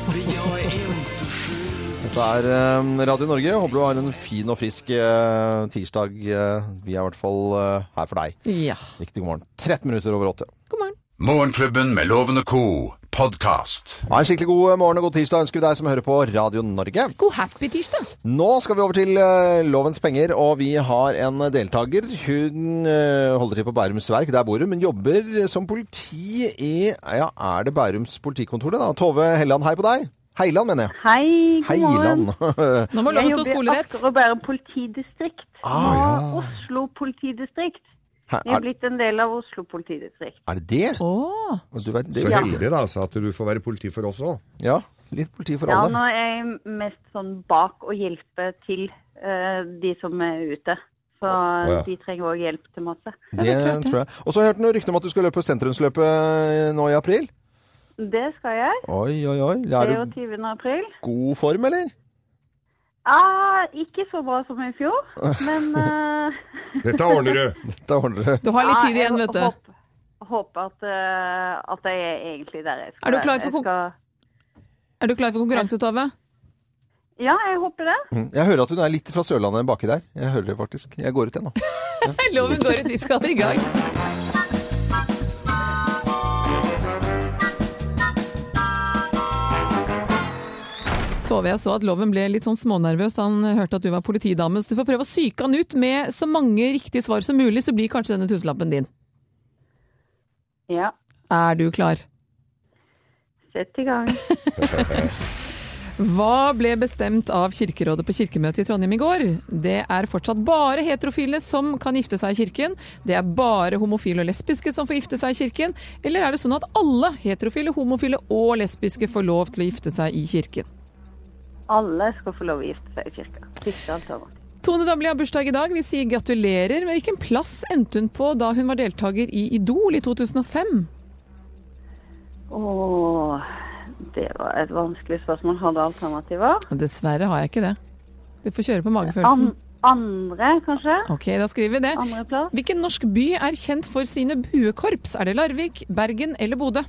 [SPEAKER 10] För jag är inte sjuk.
[SPEAKER 2] Dette er eh, Radio Norge. Håper du har en fin og frisk eh, tirsdag. Eh, vi er i hvert fall eh, her for deg.
[SPEAKER 3] Ja.
[SPEAKER 2] Riktig god morgen. 13 minutter over åtte.
[SPEAKER 3] God morgen.
[SPEAKER 1] Morgenklubben med Loven og co. podcast.
[SPEAKER 2] Ha en skikkelig god morgen og god tirsdag ønsker vi deg som hører på Radio Norge.
[SPEAKER 3] God happy tirsdag!
[SPEAKER 2] Nå skal vi over til eh, Lovens penger, og vi har en deltaker. Hun eh, holder til på Bærums Verk, der bor hun, men jobber som politi i Ja, er det Bærums politikontor, det da? Tove Helland, hei på deg. Heiland, mener jeg.
[SPEAKER 11] Hei, god morgen.
[SPEAKER 2] Heiland.
[SPEAKER 3] Nå må
[SPEAKER 11] Jeg jobber
[SPEAKER 3] loven stå
[SPEAKER 11] i
[SPEAKER 3] skolerett.
[SPEAKER 11] Asker og Bærum politidistrikt.
[SPEAKER 2] Ah,
[SPEAKER 11] Nå
[SPEAKER 2] ja.
[SPEAKER 11] Oslo politidistrikt.
[SPEAKER 2] Hæ,
[SPEAKER 11] Jeg er
[SPEAKER 2] er,
[SPEAKER 11] blitt en del av Oslo politidistrikt.
[SPEAKER 2] er det det?
[SPEAKER 3] Åh,
[SPEAKER 2] Du vet, det
[SPEAKER 4] Så heldig, da, så at du får være politi for oss òg.
[SPEAKER 2] Ja, litt politi for
[SPEAKER 11] Ja,
[SPEAKER 2] alle.
[SPEAKER 11] nå er jeg mest sånn bak å hjelpe til eh, de som er ute. Så
[SPEAKER 4] ja.
[SPEAKER 11] de trenger òg hjelp til masse.
[SPEAKER 2] Det tror jeg. Og så hørte jeg noen rykter om at du skal løpe sentrumsløpet nå i april.
[SPEAKER 11] Det skal jeg.
[SPEAKER 2] Oi, oi, oi. Er du
[SPEAKER 11] 23. april.
[SPEAKER 2] god form, eller?
[SPEAKER 11] Ah, ikke så bra som i fjor, men eh,
[SPEAKER 4] Dette ordner du.
[SPEAKER 2] Da ordner det.
[SPEAKER 3] du har litt
[SPEAKER 11] ja,
[SPEAKER 3] tid igjen,
[SPEAKER 11] jeg
[SPEAKER 3] vet du.
[SPEAKER 11] håp- Håper at, eh, at jeg er egentlig der jeg skal
[SPEAKER 3] Er du klar
[SPEAKER 11] være.
[SPEAKER 3] for
[SPEAKER 11] Jeg
[SPEAKER 3] kom-
[SPEAKER 11] skal-
[SPEAKER 3] Er du klar for konkurranse, Tove?
[SPEAKER 11] Ja, jeg håper det.
[SPEAKER 2] Mm. Jeg hører at hun er litt fra Sørlandet baki der. Jeg hører det faktisk. Jeg går ut igjen, nå.
[SPEAKER 3] Loven går ut, vi skal i gang. Tove, jeg så at Loven ble litt sånn smånervøs da han hørte at du var politidame, så du får prøve å psyke han ut med så mange riktige svar som mulig, så blir kanskje denne tusenlappen din.
[SPEAKER 11] Ja,
[SPEAKER 3] Er du klar?
[SPEAKER 11] sett i gang.
[SPEAKER 3] Hva ble bestemt av Kirkerådet på kirkemøtet i Trondheim i går? Det er fortsatt bare heterofile som kan gifte seg i kirken. Det er bare homofile og lesbiske som får gifte seg i kirken. Eller er det sånn at alle heterofile, homofile og lesbiske får lov til å gifte seg i kirken?
[SPEAKER 11] Alle skal få lov å gifte seg i kirka. Siste alternativ.
[SPEAKER 3] Tone Damli har bursdag i dag. Vi sier gratulerer. Men hvilken plass endte hun på da hun var deltaker i Idol i 2005?
[SPEAKER 11] Åh, det var et vanskelig spørsmål. Har du alternativer?
[SPEAKER 3] Dessverre har jeg ikke det. Du får kjøre på
[SPEAKER 11] An
[SPEAKER 3] magefølelsen.
[SPEAKER 11] andre, kanskje?
[SPEAKER 3] Ok, da skriver vi det.
[SPEAKER 11] Andreplass?
[SPEAKER 3] Hvilken norsk by er kjent for sine buekorps? Er det Larvik, Bergen eller Bodø?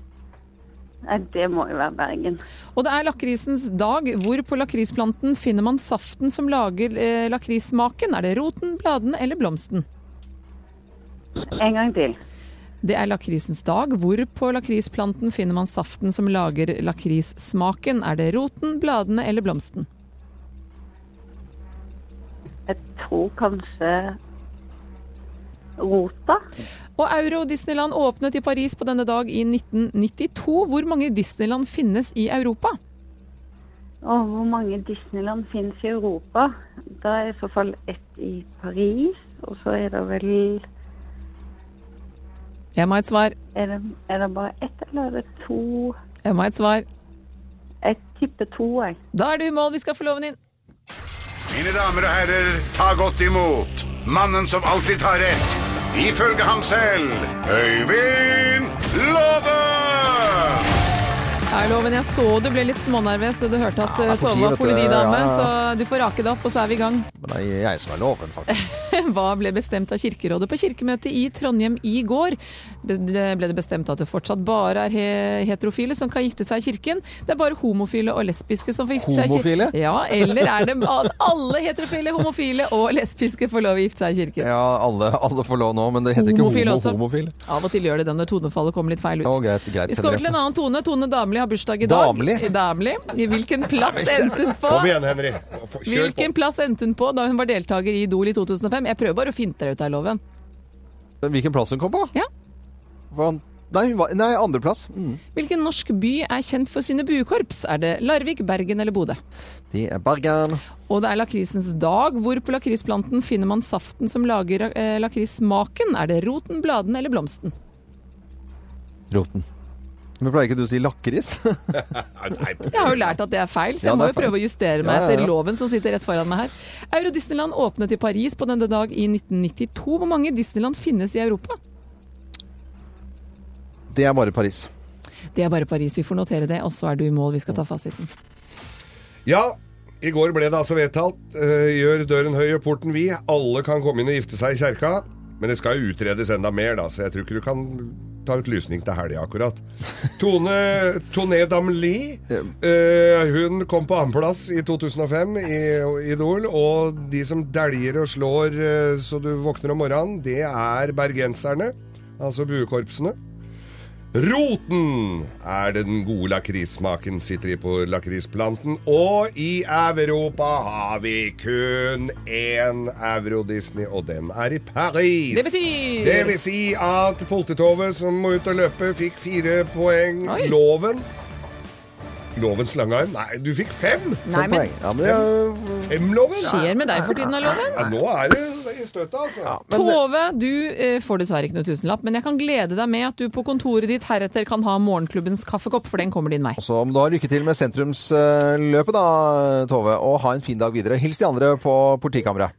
[SPEAKER 11] Nei, det må jo være Bergen.
[SPEAKER 3] Og det er lakrisens dag, hvor på lakrisplanten finner man saften som lager eh, lakrismaken? Er det roten, bladene eller blomsten?
[SPEAKER 11] En gang til.
[SPEAKER 3] Det er lakrisens dag, hvor på lakrisplanten finner man saften som lager lakrissmaken? Er det roten, bladene eller blomsten?
[SPEAKER 11] Jeg tror kanskje Rota.
[SPEAKER 3] Og Euro Disneyland åpnet i Paris på denne dag i 1992. Hvor mange Disneyland finnes i Europa?
[SPEAKER 11] Og hvor mange Disneyland finnes i Europa? Da er i så fall ett i Paris, og så er det vel
[SPEAKER 3] Jeg må ha et svar.
[SPEAKER 11] Er det, er det bare ett, eller er det to?
[SPEAKER 3] Jeg må ha et svar.
[SPEAKER 11] Jeg tipper to, jeg.
[SPEAKER 3] Da er du i mål. Vi skal få loven inn.
[SPEAKER 1] Mine damer og herrer, ta godt imot mannen som alltid tar rett. Ifølge ham selv Øyvind Låve!
[SPEAKER 3] Hei, Loven, jeg så du ble litt smånervøs da du hørte at eh,
[SPEAKER 2] Ja, det er
[SPEAKER 3] Tove
[SPEAKER 2] politi,
[SPEAKER 3] var
[SPEAKER 2] vet du.
[SPEAKER 3] politidame,
[SPEAKER 2] Ja, ja,
[SPEAKER 3] så
[SPEAKER 2] ja.
[SPEAKER 3] du får rake deg opp, og så er vi i gang.
[SPEAKER 2] Men det er jeg som er loven, faktisk.
[SPEAKER 3] Hva ble bestemt av Kirkerådet på kirkemøtet i Trondheim i går? Be- Ble det bestemt at det fortsatt bare er he- heterofile som kan gifte seg i kirken? Det er bare homofile og lesbiske som får gifte seg i kirken?
[SPEAKER 2] Homofile?
[SPEAKER 3] Ja, eller er det at alle heterofile, homofile og lesbiske får lov å gifte seg i kirken?
[SPEAKER 2] Ja, alle, alle får lov nå, men det heter ikke
[SPEAKER 3] Homofil
[SPEAKER 2] homo
[SPEAKER 3] også.
[SPEAKER 2] homofil.
[SPEAKER 3] Av og til gjør det det når tonefallet kommer litt feil ut.
[SPEAKER 2] Å, greit, greit,
[SPEAKER 3] vi skal over til en annen Tone. Tone Damli har bursdag i dag.
[SPEAKER 2] Damli?
[SPEAKER 3] Damli. I hvilken plass endte hun på?
[SPEAKER 4] Kom igjen, Henry. Få- Kjør på.
[SPEAKER 3] Hvilken plass endte hun på da hun var deltaker i Idol i 2005? Jeg prøver bare å finte deg ut her, Loven.
[SPEAKER 2] Hvilken plass hun kom på?
[SPEAKER 3] Ja.
[SPEAKER 2] Hva- Nei, hun var- nei andreplass. Mm.
[SPEAKER 3] Hvilken norsk by er kjent for sine buekorps? Er det Larvik, Bergen eller Bodø?
[SPEAKER 2] Det er Bergen.
[SPEAKER 3] Og det er lakrisens dag, hvor på lakrisplanten finner man saften som lager eh, lakrissmaken. Er det roten, bladene eller blomsten?
[SPEAKER 2] Roten. Men pleier ikke du å si lakris?
[SPEAKER 4] Nei, nei,
[SPEAKER 3] Jeg har jo lært at det er feil, så jeg
[SPEAKER 2] Ja,
[SPEAKER 3] må
[SPEAKER 2] det er
[SPEAKER 3] jo prøve å
[SPEAKER 2] feil.
[SPEAKER 3] justere
[SPEAKER 2] Ja,
[SPEAKER 3] meg
[SPEAKER 2] ja,
[SPEAKER 3] etter
[SPEAKER 2] ja.
[SPEAKER 3] loven som sitter rett foran meg her. Euro Disneyland åpnet i Paris på denne dag i 1992. Hvor mange Disneyland finnes i Europa?
[SPEAKER 2] Det er bare Paris.
[SPEAKER 3] Det er bare Paris. Vi får notere det, og så er du i mål. Vi skal ta fasiten.
[SPEAKER 4] Ja, i går ble det altså vedtatt. eh, gjør døren høy og porten vid. Alle kan komme inn og gifte seg i kjerka. Men det skal jo utredes enda mer, da, så jeg tror ikke du kan ta ut lysning til helga akkurat. Tone Tone Damli, eh, hun kom på annenplass i 2005 i Idol. Og de som dæljer og slår eh, så du våkner om morgenen, det er bergenserne. Altså buekorpsene. Roten er den gode lakrissmaken sitter i på lakrisplanten, og i Europa har vi kun én Euro-Disney, og den er i Paris.
[SPEAKER 3] Det betyr-
[SPEAKER 4] Det vil si at Poltetovet, som må ut og løpe, fikk fire poeng.
[SPEAKER 3] Oi.
[SPEAKER 4] Loven Lovens langarm? Nei, du fikk fem!
[SPEAKER 3] Nei, men
[SPEAKER 2] Poeng. Ja, men det er
[SPEAKER 4] Fem loven?
[SPEAKER 3] skjer med deg for tiden av loven?
[SPEAKER 4] Ja, nå er det i støtet, altså.
[SPEAKER 2] men det-
[SPEAKER 3] Tove, du eh, får dessverre ikke noe tusenlapp, men jeg kan glede deg med at du på kontoret ditt heretter kan ha morgenklubbens kaffekopp, for den kommer din vei.
[SPEAKER 2] Så må du ha lykke til med sentrumsløpet, da, Tove. Og ha en fin dag videre. Hils de andre på politikammeret.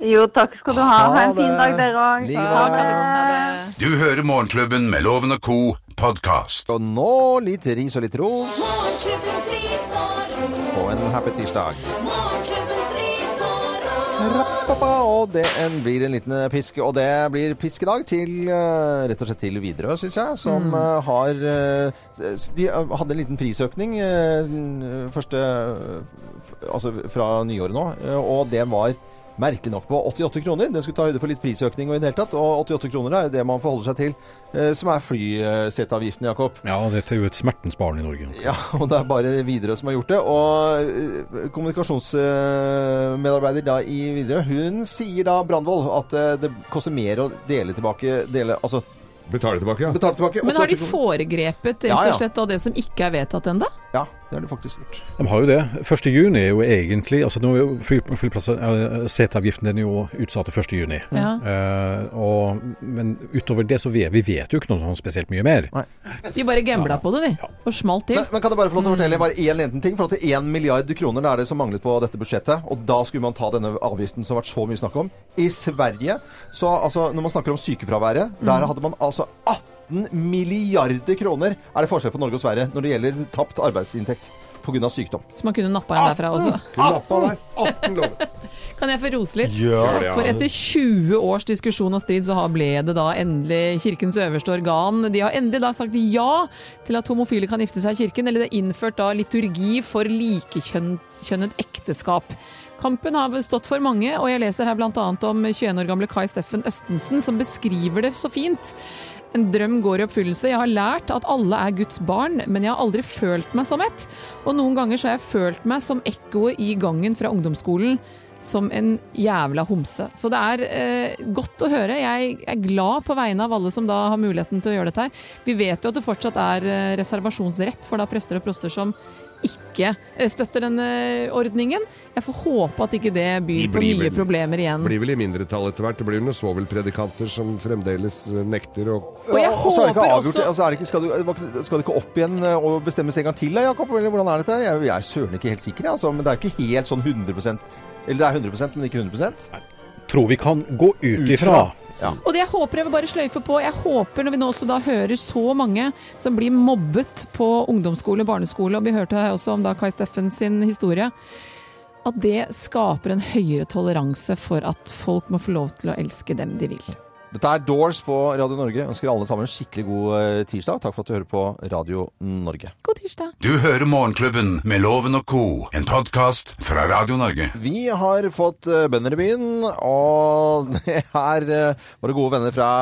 [SPEAKER 11] Jo, takk skal du ha. Ha en fin
[SPEAKER 2] det.
[SPEAKER 11] dag, dere òg.
[SPEAKER 2] Like
[SPEAKER 3] Ha det.
[SPEAKER 1] Du hører Morgenklubben med Loven og Co. podkast.
[SPEAKER 2] Og nå litt ris og litt ros
[SPEAKER 8] Morgenklubbens ris og ros.
[SPEAKER 2] og en happy tirsdag.
[SPEAKER 8] Morgenklubbens ris og ros.
[SPEAKER 2] Rappappa, og det en, blir en liten piske. Og det blir piskedag til eh, rett og slett til Widerøe, syns jeg, som eh, har eh, s- De eh, hadde en liten prisøkning eh, den første eh, Altså fra nyåret nå, eh, og det var Merkelig nok på 88 kroner. Den skulle ta høyde for litt prisøkning. Og i det hele tatt, og 88 kroner er jo det man forholder seg til, eh, som er flyseteavgiften, Jakob.
[SPEAKER 5] Ja, dette er jo et smertens barn i Norge.
[SPEAKER 2] Ja, og det er bare Widerøe som har gjort det. Og eh, kommunikasjonsmedarbeider da i Widerøe, hun sier da Brandvold at eh, det koster mer å dele tilbake dele, Altså
[SPEAKER 4] Betale tilbake, ja.
[SPEAKER 2] betale tilbake.
[SPEAKER 3] Men har de
[SPEAKER 2] 88 kroner.
[SPEAKER 3] foregrepet
[SPEAKER 2] Ja,
[SPEAKER 3] rett
[SPEAKER 2] ja.
[SPEAKER 3] og slett av det som ikke er vedtatt ennå?
[SPEAKER 2] Ja, det har de faktisk gjort.
[SPEAKER 5] De har jo det. 1. juni er jo egentlig altså nå er jo fly, flyplasser, eh, Seteavgiften den er jo utsatt til 1. juni.
[SPEAKER 3] Ja.
[SPEAKER 5] Eh, og, men utover det så vet vi vet jo ikke noe sånn spesielt mye mer.
[SPEAKER 3] De bare gambla på det, de. Og smalt til.
[SPEAKER 2] Men, men kan jeg bare få lov til å fortelle bare én liten ting? For at det er 1 milliard kroner det er det som manglet på dette budsjettet. Og da skulle man ta denne avgiften som det har vært så mye snakk om. I Sverige, så altså Når man snakker om sykefraværet,
[SPEAKER 3] Mm.
[SPEAKER 2] der hadde man altså 18 milliarder kroner er det forskjell på Norge og Sverige når det gjelder tapt arbeidsinntekt pga. sykdom.
[SPEAKER 3] Så man kunne nappa en derfra også.
[SPEAKER 4] 18, 18 loven.
[SPEAKER 3] Kan jeg få rose litt?
[SPEAKER 4] Gjør det, ja.
[SPEAKER 3] For etter 20 års diskusjon og strid så har- ble det da endelig kirkens øverste organ. De har endelig da sagt ja til at homofile kan gifte seg i kirken, eller det er innført da liturgi for likekjønnet ekteskap. Kampen har stått for mange, og jeg leser her bl.a. om 21 år gamle Kai Steffen Østensen, som beskriver det så fint. En drøm går i oppfyllelse. Jeg har lært at alle er Guds barn, men jeg har aldri følt meg som et. Og noen ganger så har jeg følt meg som ekkoet i gangen fra ungdomsskolen. Som en jævla homse. Så det er eh, godt å høre. Jeg er glad på vegne av alle som da har muligheten til å gjøre dette her. Vi vet jo at det fortsatt er eh, reservasjonsrett for da prester og proster som ikke eh, støtter denne ordningen. Jeg får håpe at ikke det byr
[SPEAKER 4] De
[SPEAKER 3] på
[SPEAKER 4] blir
[SPEAKER 3] nye
[SPEAKER 4] vel-
[SPEAKER 3] problemer igjen.
[SPEAKER 4] Blir vel i mindretall etter hvert. Det blir jo noen svovelpredikanter som fremdeles eh, nekter å
[SPEAKER 3] Og jeg
[SPEAKER 2] Ja, og så er det ikke
[SPEAKER 3] håper
[SPEAKER 2] avgjort.
[SPEAKER 3] også-
[SPEAKER 2] Altså, er det ikke, skal, du, skal det ikke opp igjen eh, og bestemmes en gang til, da, Jakob? Eller hvordan er dette? her? Jeg, jeg er søren ikke helt sikker, jeg, altså, men det er ikke helt sånn 100 Eller det er 100 men ikke 100
[SPEAKER 5] Tror vi kan gå ut ifra.
[SPEAKER 3] Og det jeg håper jeg vil bare sløyfe på, jeg håper når vi nå også da hører så mange som blir mobbet på ungdomsskole, barneskole, og vi hørte her også om da Kai Steffen sin historie, at det skaper en høyere toleranse for at folk må få lov til å elske dem de vil.
[SPEAKER 2] Dette er Doors på Radio Norge. Jeg ønsker alle sammen en skikkelig god eh, tirsdag. Takk for at du hører på Radio Norge.
[SPEAKER 3] God tirsdag!
[SPEAKER 1] Du hører Morgenklubben med Loven og Co., en podkast fra Radio Norge.
[SPEAKER 2] Vi har fått eh, bønder i byen, og det er eh, våre gode venner fra,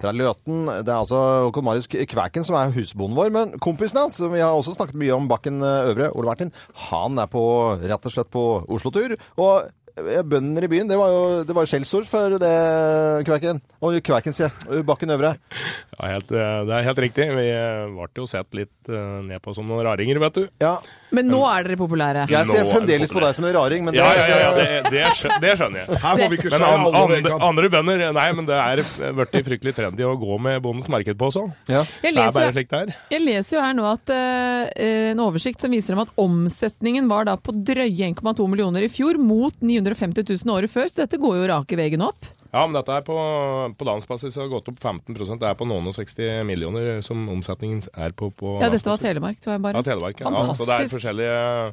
[SPEAKER 2] fra Løten. Det er altså Håkon Marius K- Kvæken som er husbonden vår, men kompisen hans, som vi har også snakket mye om Bakken eh, Øvre, Ole Martin, han er på, rett og slett på Oslo-tur. Og eh, bønder i byen, det var jo, det var jo skjellsord for det, Kvæken. Og Kvæken, sier jeg. Bakken Øvre.
[SPEAKER 12] Ja, helt, eh, det er helt riktig. Vi eh, ble jo sett litt eh, ned på som noen raringer, vet du.
[SPEAKER 2] Ja,
[SPEAKER 3] Men nå er dere populære.
[SPEAKER 2] jeg ser
[SPEAKER 12] Lå er
[SPEAKER 2] fremdeles på
[SPEAKER 12] populær.
[SPEAKER 2] deg som en raring, men det,
[SPEAKER 12] Ja, ja, ja, ja det, det, skjø- det skjønner jeg.
[SPEAKER 4] Her må vi ikke
[SPEAKER 12] Men
[SPEAKER 4] skjære
[SPEAKER 12] an,
[SPEAKER 4] alle over en
[SPEAKER 12] andre,
[SPEAKER 4] kam.
[SPEAKER 12] andre bønder Nei, men det er eh, blitt fryktelig trendy å gå med Bondens marked på også.
[SPEAKER 2] Ja.
[SPEAKER 3] Jeg
[SPEAKER 12] Det er bare
[SPEAKER 3] leser,
[SPEAKER 12] slik det er.
[SPEAKER 3] jeg leser jo her nå at eh, en oversikt som viser om at omsetningen var da på drøye 1,2 millioner i fjor, mot 950 000 året før, så dette går jo rake veien opp.
[SPEAKER 12] Ja, men dette er på, på landsbasis har det gått opp 15 Det er på noen og 60 millioner som omsetningen er på. på
[SPEAKER 3] Ja, dette var
[SPEAKER 12] landsbasis.
[SPEAKER 3] Telemark, tror jeg bare.
[SPEAKER 12] Ja, Telemark. Ja. Ja, så det er
[SPEAKER 3] Fantastisk.
[SPEAKER 12] forskjellige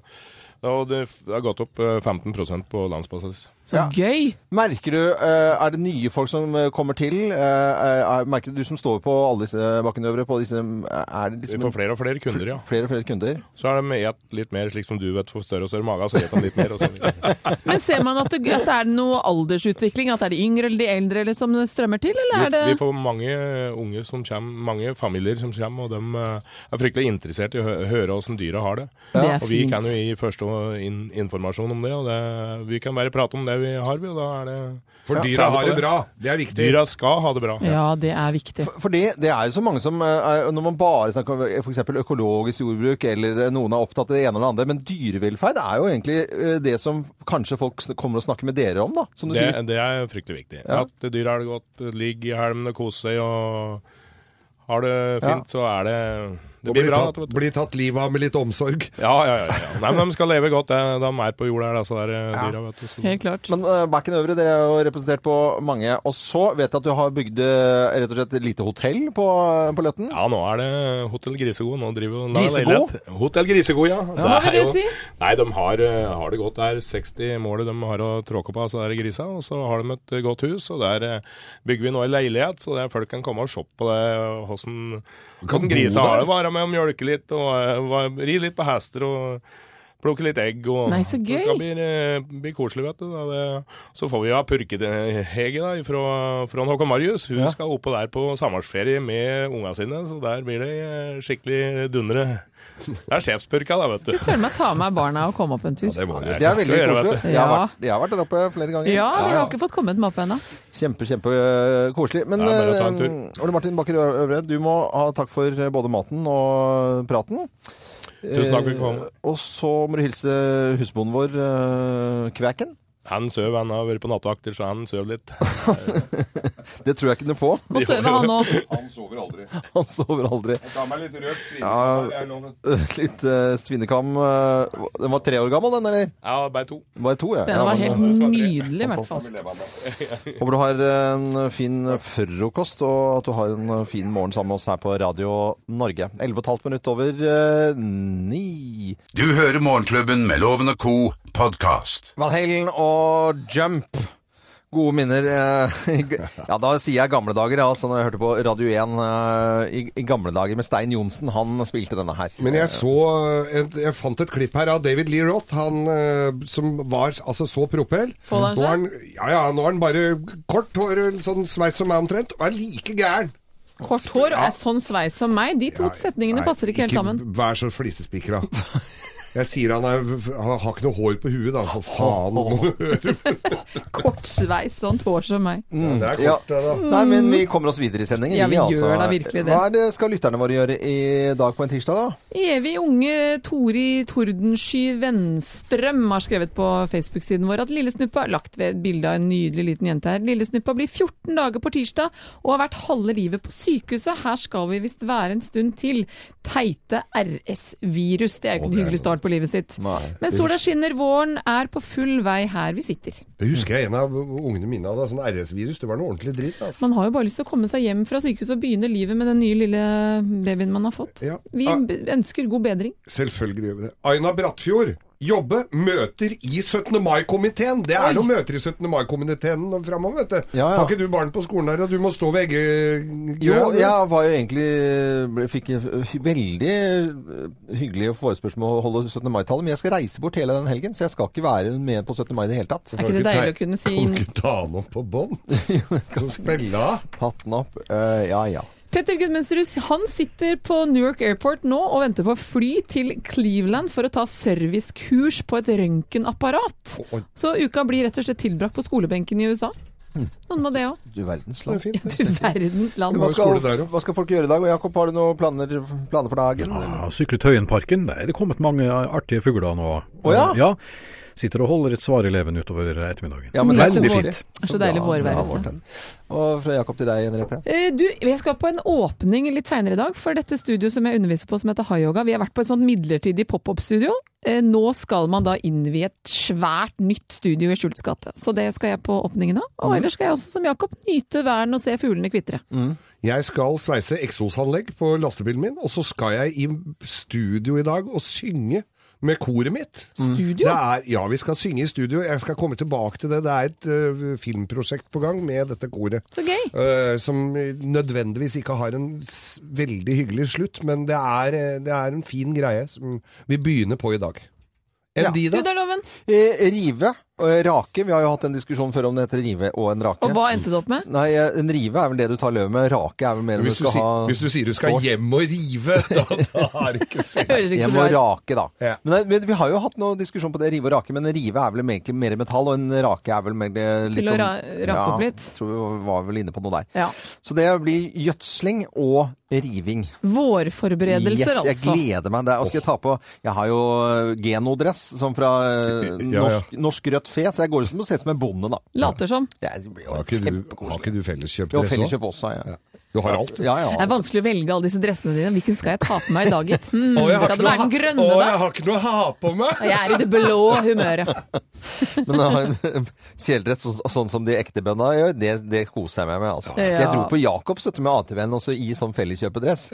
[SPEAKER 12] og det, det har gått opp eh, 15 på landsbasis.
[SPEAKER 3] Så gøy!
[SPEAKER 2] Merker du, eh, er det nye folk som eh, kommer til? Eh, er, er- merker du, du som står på alle disse bakkenøvre, på disse, er det liksom...
[SPEAKER 12] Vi får flere og flere kunder, ja.
[SPEAKER 2] Flere og flere kunder.
[SPEAKER 12] Så er de et litt mer slik som du vet, får større og større mage, så et de litt mer. Og så
[SPEAKER 3] Men ser man at det, at det er noe aldersutvikling? At det er de yngre eller de eldre eller som strømmer til, eller er det
[SPEAKER 12] Vi, vi får mange unge som kommer, mange familier som kommer, og de eh, er fryktelig interessert i å hø høre åssen dyra har det.
[SPEAKER 3] Det er
[SPEAKER 12] og vi
[SPEAKER 3] fint.
[SPEAKER 12] kan jo gi første in informasjon om det, og det, vi kan bare prate om det vi har, vi, og da er det
[SPEAKER 4] For
[SPEAKER 12] Ja,
[SPEAKER 4] dyra
[SPEAKER 12] særlig
[SPEAKER 4] har
[SPEAKER 12] på
[SPEAKER 4] det bra. Det er viktig.
[SPEAKER 12] Dyra skal ha det bra.
[SPEAKER 3] Ja, det er viktig.
[SPEAKER 2] For det, det er jo så mange som, eh, når man bare snakker om f.eks. økologisk jordbruk, eller eh, noen er opptatt av det ene eller andre, men dyrevelferd er jo egentlig eh, det som kanskje folk sn- kommer og snakker med dere om, da, som du
[SPEAKER 12] det,
[SPEAKER 2] sier.
[SPEAKER 12] det er fryktelig viktig.
[SPEAKER 2] Ja.
[SPEAKER 12] At dyr har det godt, ligger i helmen og koser seg og har det fint, så er det Det
[SPEAKER 4] Og
[SPEAKER 12] blir
[SPEAKER 4] blir
[SPEAKER 12] bra.
[SPEAKER 4] tatt, blir tatt livet av med litt omsorg.
[SPEAKER 12] Ja, ja, ja. ja. Nei, men de skal leve godt, det. de er på jorda her, altså, der, eh, dyra. Vet du. Så-
[SPEAKER 3] Helt klart.
[SPEAKER 2] Men uh, Bakken Øvre, dere er jo representert på mange. Og så vet jeg at du har bygd eh, rett og slett et lite hotell på, på Løtten.
[SPEAKER 12] Ja, nå er det Hotell Grisego. Nå driver nå er det
[SPEAKER 2] Grisego?
[SPEAKER 12] leilighet. Hotell Grisego, ja.
[SPEAKER 3] Hva vil
[SPEAKER 12] er
[SPEAKER 3] det
[SPEAKER 12] jo-
[SPEAKER 3] si?
[SPEAKER 12] Nei, de har, eh, har det godt. Det er 60 mål de har å tråkke på, altså der er grisa. Og så har de et eh, godt hus, og der eh, bygger vi nå en leilighet, så der folk kan komme og se på det, hvordan, hvordan grisa
[SPEAKER 4] bo
[SPEAKER 12] har
[SPEAKER 4] der.
[SPEAKER 12] det. Være med og mjølke litt, og eh, va- ri litt på hester. og Plukke litt egg og
[SPEAKER 3] Nei, så gøy.
[SPEAKER 12] Det blir, eh, blir koselig, vet du. Da. Det, så får vi ha purkehege da, fra, fra Håkon Marius. Hun
[SPEAKER 2] Ja.
[SPEAKER 12] skal oppå der på samarbeidsferie med unga sine, så der blir det eh, skikkelig dundre. Det er sjefspurka, da, vet du.
[SPEAKER 3] Skal søren meg ta med barna og komme opp en tur.
[SPEAKER 12] Det må du.
[SPEAKER 2] Det er veldig
[SPEAKER 12] Skal gjøre,
[SPEAKER 2] koselig.
[SPEAKER 12] vet du.
[SPEAKER 2] Jeg har,
[SPEAKER 3] Ja.
[SPEAKER 2] vært, jeg har vært der oppe flere ganger.
[SPEAKER 3] Ja, vi har ikke fått kommet med opp ennå.
[SPEAKER 2] Kjempe, kjempe øh, koselig. Men
[SPEAKER 12] Ja, bare ta en
[SPEAKER 2] øh, Ole Martin Bakker Ø- Øvre, du må ha takk for øh, både maten og praten.
[SPEAKER 12] Tusen takk for at du kom.
[SPEAKER 2] Eh, Og så må du hilse husbonden vår, øh, Kvæken.
[SPEAKER 12] Han søv, han har vært på nattevakter, så han søv litt.
[SPEAKER 2] Det tror jeg ikke noe på.
[SPEAKER 3] Nå sover han nå.
[SPEAKER 4] Han sover aldri.
[SPEAKER 2] Han sover aldri.
[SPEAKER 4] Ta meg litt rødt svin.
[SPEAKER 2] Ja.
[SPEAKER 4] Det er lov.
[SPEAKER 2] Litt øh, svinekam. øh, Den var tre år gammel, den, eller?
[SPEAKER 12] Ja, bare to.
[SPEAKER 2] Den var to, ja.
[SPEAKER 3] Den
[SPEAKER 2] ja
[SPEAKER 3] var
[SPEAKER 2] men-
[SPEAKER 3] helt nydelig, i hvert fall.
[SPEAKER 2] Fantastisk. Håper du har en fin frokost, og at du har en fin morgen sammen med oss her på Radio Norge. 11,5 minutt over eh, ni.
[SPEAKER 1] Du hører Morgenklubben med Loven og Co. podkast.
[SPEAKER 2] Van Halen og Jump. Gode minner. eh, i g- Ja, da sier jeg gamle dager, ja, altså, når jeg hørte på Radio 1 eh, i, i gamle dager med Stein Johnsen. Han spilte denne her.
[SPEAKER 4] Men jeg så eh, et, Jeg fant et klipp her av David Lee Roth, han eh, som var altså så propell. Nå
[SPEAKER 3] Holder han
[SPEAKER 4] er han, ja, ja, nå er han bare kort hår, sånn sveis som meg omtrent, og er like gæren.
[SPEAKER 3] Kort hår og er sånn sveis som meg. De to setningene
[SPEAKER 4] Nei,
[SPEAKER 3] passer ikke helt sammen.
[SPEAKER 4] Vær så flisespikra. Jeg sier han, er, han har ikke noe hår på huet, da. For faen.
[SPEAKER 3] Kort sveis, sånt hår som meg.
[SPEAKER 4] Ja, det er
[SPEAKER 2] Ja.
[SPEAKER 4] kort, det, da.
[SPEAKER 2] Nei, men vi kommer oss videre i sendingen.
[SPEAKER 3] Ja, vi gjør da virkelig det.
[SPEAKER 2] Hva er det skal lytterne våre gjøre i dag på en tirsdag, da?
[SPEAKER 3] Evig unge Tori Tordensky Vennstrøm har skrevet på Facebook-siden vår at Lillesnuppa lagt ved et bilde av en nydelig liten jente her. Lillesnuppa blir 14 dager på tirsdag og har vært halve livet på sykehuset. Her skal vi visst være en stund til. Teite RS-virus. Det er jo ikke en hyggelig start på livet sitt.
[SPEAKER 2] Nei.
[SPEAKER 3] Men sola skinner, våren er på full vei her vi sitter.
[SPEAKER 4] Det husker jeg en av ungene mine hadde, sånn RS-virus. Det var noe ordentlig dritt. Altså.
[SPEAKER 3] Man har jo bare lyst til å komme seg hjem fra sykehuset og begynne livet med den nye lille babyen man har fått.
[SPEAKER 4] Ja.
[SPEAKER 3] Vi
[SPEAKER 4] Ah.
[SPEAKER 3] b- ønsker god bedring.
[SPEAKER 4] Selvfølgelig gjør vi det. Aina Brattfjord. Jobbe møter i 17. mai-komiteen. Det er noen møter i 17. mai-komiteen nå framover, vet du.
[SPEAKER 2] Ja, ja.
[SPEAKER 4] Har ikke du barn på skolen her, og du må stå ved egge...
[SPEAKER 2] Jo, jeg var jo egentlig ble, fikk hy- veldig hyggelig forespørsel om å holde 17. mai-tallet, men jeg skal reise bort hele den helgen, så jeg skal ikke være med på 17. mai i det hele tatt.
[SPEAKER 3] Er ikke det deilig å kunne si
[SPEAKER 4] Kan du ikke ta han opp på bånd? Så spille av.
[SPEAKER 2] Hatten opp. Eh, ja, ja.
[SPEAKER 3] Petter Gudmundsrud han sitter på Newark Airport nå og venter på fly til Cleveland for å ta servicekurs på et røntgenapparat.
[SPEAKER 4] Oi,
[SPEAKER 3] Så uka blir rett og slett tilbrakt på skolebenken i USA. Noen må det òg.
[SPEAKER 2] Du verdens
[SPEAKER 4] det er
[SPEAKER 2] land.
[SPEAKER 4] fint.
[SPEAKER 3] Du verdens land.
[SPEAKER 2] Hva skal,
[SPEAKER 4] skole der, jo.
[SPEAKER 2] hva skal folk gjøre i dag? Og Jakob, har du noen planer, planer for dagen?
[SPEAKER 5] Ja, sykle Tøyenparken, der er det kommet mange artige fugler nå.
[SPEAKER 2] Å ja?
[SPEAKER 5] Sitter og holder et svareleven utover ettermiddagen.
[SPEAKER 2] Ja, men det er
[SPEAKER 5] Veldig
[SPEAKER 2] koselig.
[SPEAKER 5] fint.
[SPEAKER 3] Det er så deilig
[SPEAKER 2] bra, bra,
[SPEAKER 3] vårvær ute.
[SPEAKER 2] Morten. Og fra Jakob til deg, Henriette.
[SPEAKER 3] Eh, Du, jeg skal på en åpning litt seinere i dag for dette studioet som jeg underviser på som heter Hayoga. Vi har vært på et sånt midlertidig pop-up-studio. Eh, Nå skal man da innvie et svært nytt studio i Skjults gate. Så det skal jeg på åpningen av. Og ellers skal jeg også, som Jakob, nyte væren og se fuglene kvitre.
[SPEAKER 4] Jeg skal sveise eksosanlegg på lastebilen min, og så skal jeg i studio i dag og synge med koret mitt. Studio? ja, vi skal synge i studio. Jeg skal komme tilbake til det. Det er et ø, filmprosjekt på gang med dette koret.
[SPEAKER 3] Så gøy.
[SPEAKER 4] Ø, Eh, som nødvendigvis ikke har en s veldig hyggelig slutt, men det er, ø, det er en fin greie som vi begynner på i dag. Enn de, da?
[SPEAKER 2] Eh, rive og rake. Vi har jo hatt en diskusjon før om det heter rive og en rake.
[SPEAKER 3] Og hva endte det opp med?
[SPEAKER 2] Nei, eh, en rive er vel det du tar løvet med. Rake er vel mer om
[SPEAKER 4] Hvis du,
[SPEAKER 2] du skal
[SPEAKER 4] si,
[SPEAKER 2] ha
[SPEAKER 4] hvis du sier du skal
[SPEAKER 2] skår.
[SPEAKER 4] hjem og rive, da, da er det ikke sikkert.
[SPEAKER 2] Jeg må rake, da. Men, det- men vi har jo hatt noe diskusjon på det rive og rake, men en rive er vel egentlig mer metall, og en rake er vel mer det litt
[SPEAKER 3] Til å
[SPEAKER 2] sånn
[SPEAKER 3] ra- rake
[SPEAKER 2] ja,
[SPEAKER 3] opp litt.
[SPEAKER 2] Tror vi var vel inne på noe der.
[SPEAKER 3] Ja.
[SPEAKER 2] Så det blir gjødsling og riving.
[SPEAKER 3] Vårforberedelser,
[SPEAKER 2] yes, jeg
[SPEAKER 3] altså.
[SPEAKER 2] gleder meg. Det er- Og skal jeg ta på Jeg har jo eh, genodress som fra eh,
[SPEAKER 4] Ja, ja.
[SPEAKER 2] norsk, norsk rødt fe, så jeg går liksom ut som å se ut som en bonde, da.
[SPEAKER 3] Later som.
[SPEAKER 2] Det blir jo
[SPEAKER 4] Har ikke du, har ikke du
[SPEAKER 2] Jo,
[SPEAKER 4] felleskjøpdress
[SPEAKER 2] felleskjøp også, ja.
[SPEAKER 4] Du har alt, du.
[SPEAKER 2] Ja, ja.
[SPEAKER 3] Det er vanskelig å velge alle disse dressene dine. Hvilken skal jeg ta på meg i dag, gitt? Hmm,
[SPEAKER 4] Å, jeg har
[SPEAKER 3] skal
[SPEAKER 4] ikke
[SPEAKER 3] det
[SPEAKER 4] noe
[SPEAKER 3] være den
[SPEAKER 4] ha-
[SPEAKER 3] grønne,
[SPEAKER 4] Å,
[SPEAKER 3] da?
[SPEAKER 4] jeg har ikke noe å ha på meg!
[SPEAKER 3] Jeg er i det blå humøret.
[SPEAKER 2] Men å ha en kjeledrett så, sånn som de ekte bøndene gjør, det, det koser jeg meg med. Altså.
[SPEAKER 3] Ja.
[SPEAKER 2] Jeg dro på Jacobs vet du, med ATV-en også i sånn felleskjøpedress.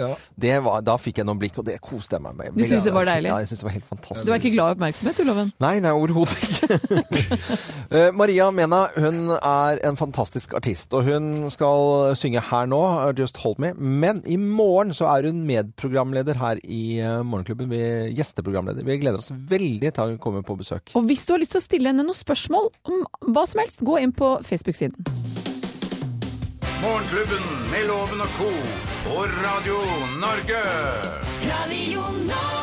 [SPEAKER 2] Det var- Da fikk jeg noen blikk, og det koste jeg meg med.
[SPEAKER 3] Du synes det var deilig?
[SPEAKER 2] Ja, jeg synes det var helt fantastisk.
[SPEAKER 3] Du er ikke glad i oppmerksomhet, du, Loven?
[SPEAKER 2] Nei, nei, overhodet ikke. Eh, Maria Mena hun er en fantastisk artist, og hun skal synge her nå, eh, Just Hold Me. Men i morgen så er hun medprogramleder her i eh, Morgenklubben. Vi, gjesteprogramleder. Vi gleder oss veldig til hun kommer på besøk.
[SPEAKER 3] Og hvis du har lyst til å stille henne noen spørsmål om hva som helst, gå inn på Facebook-siden.
[SPEAKER 1] Morgenklubben med Loven og co. på Radio Norge.
[SPEAKER 8] Radio Norge.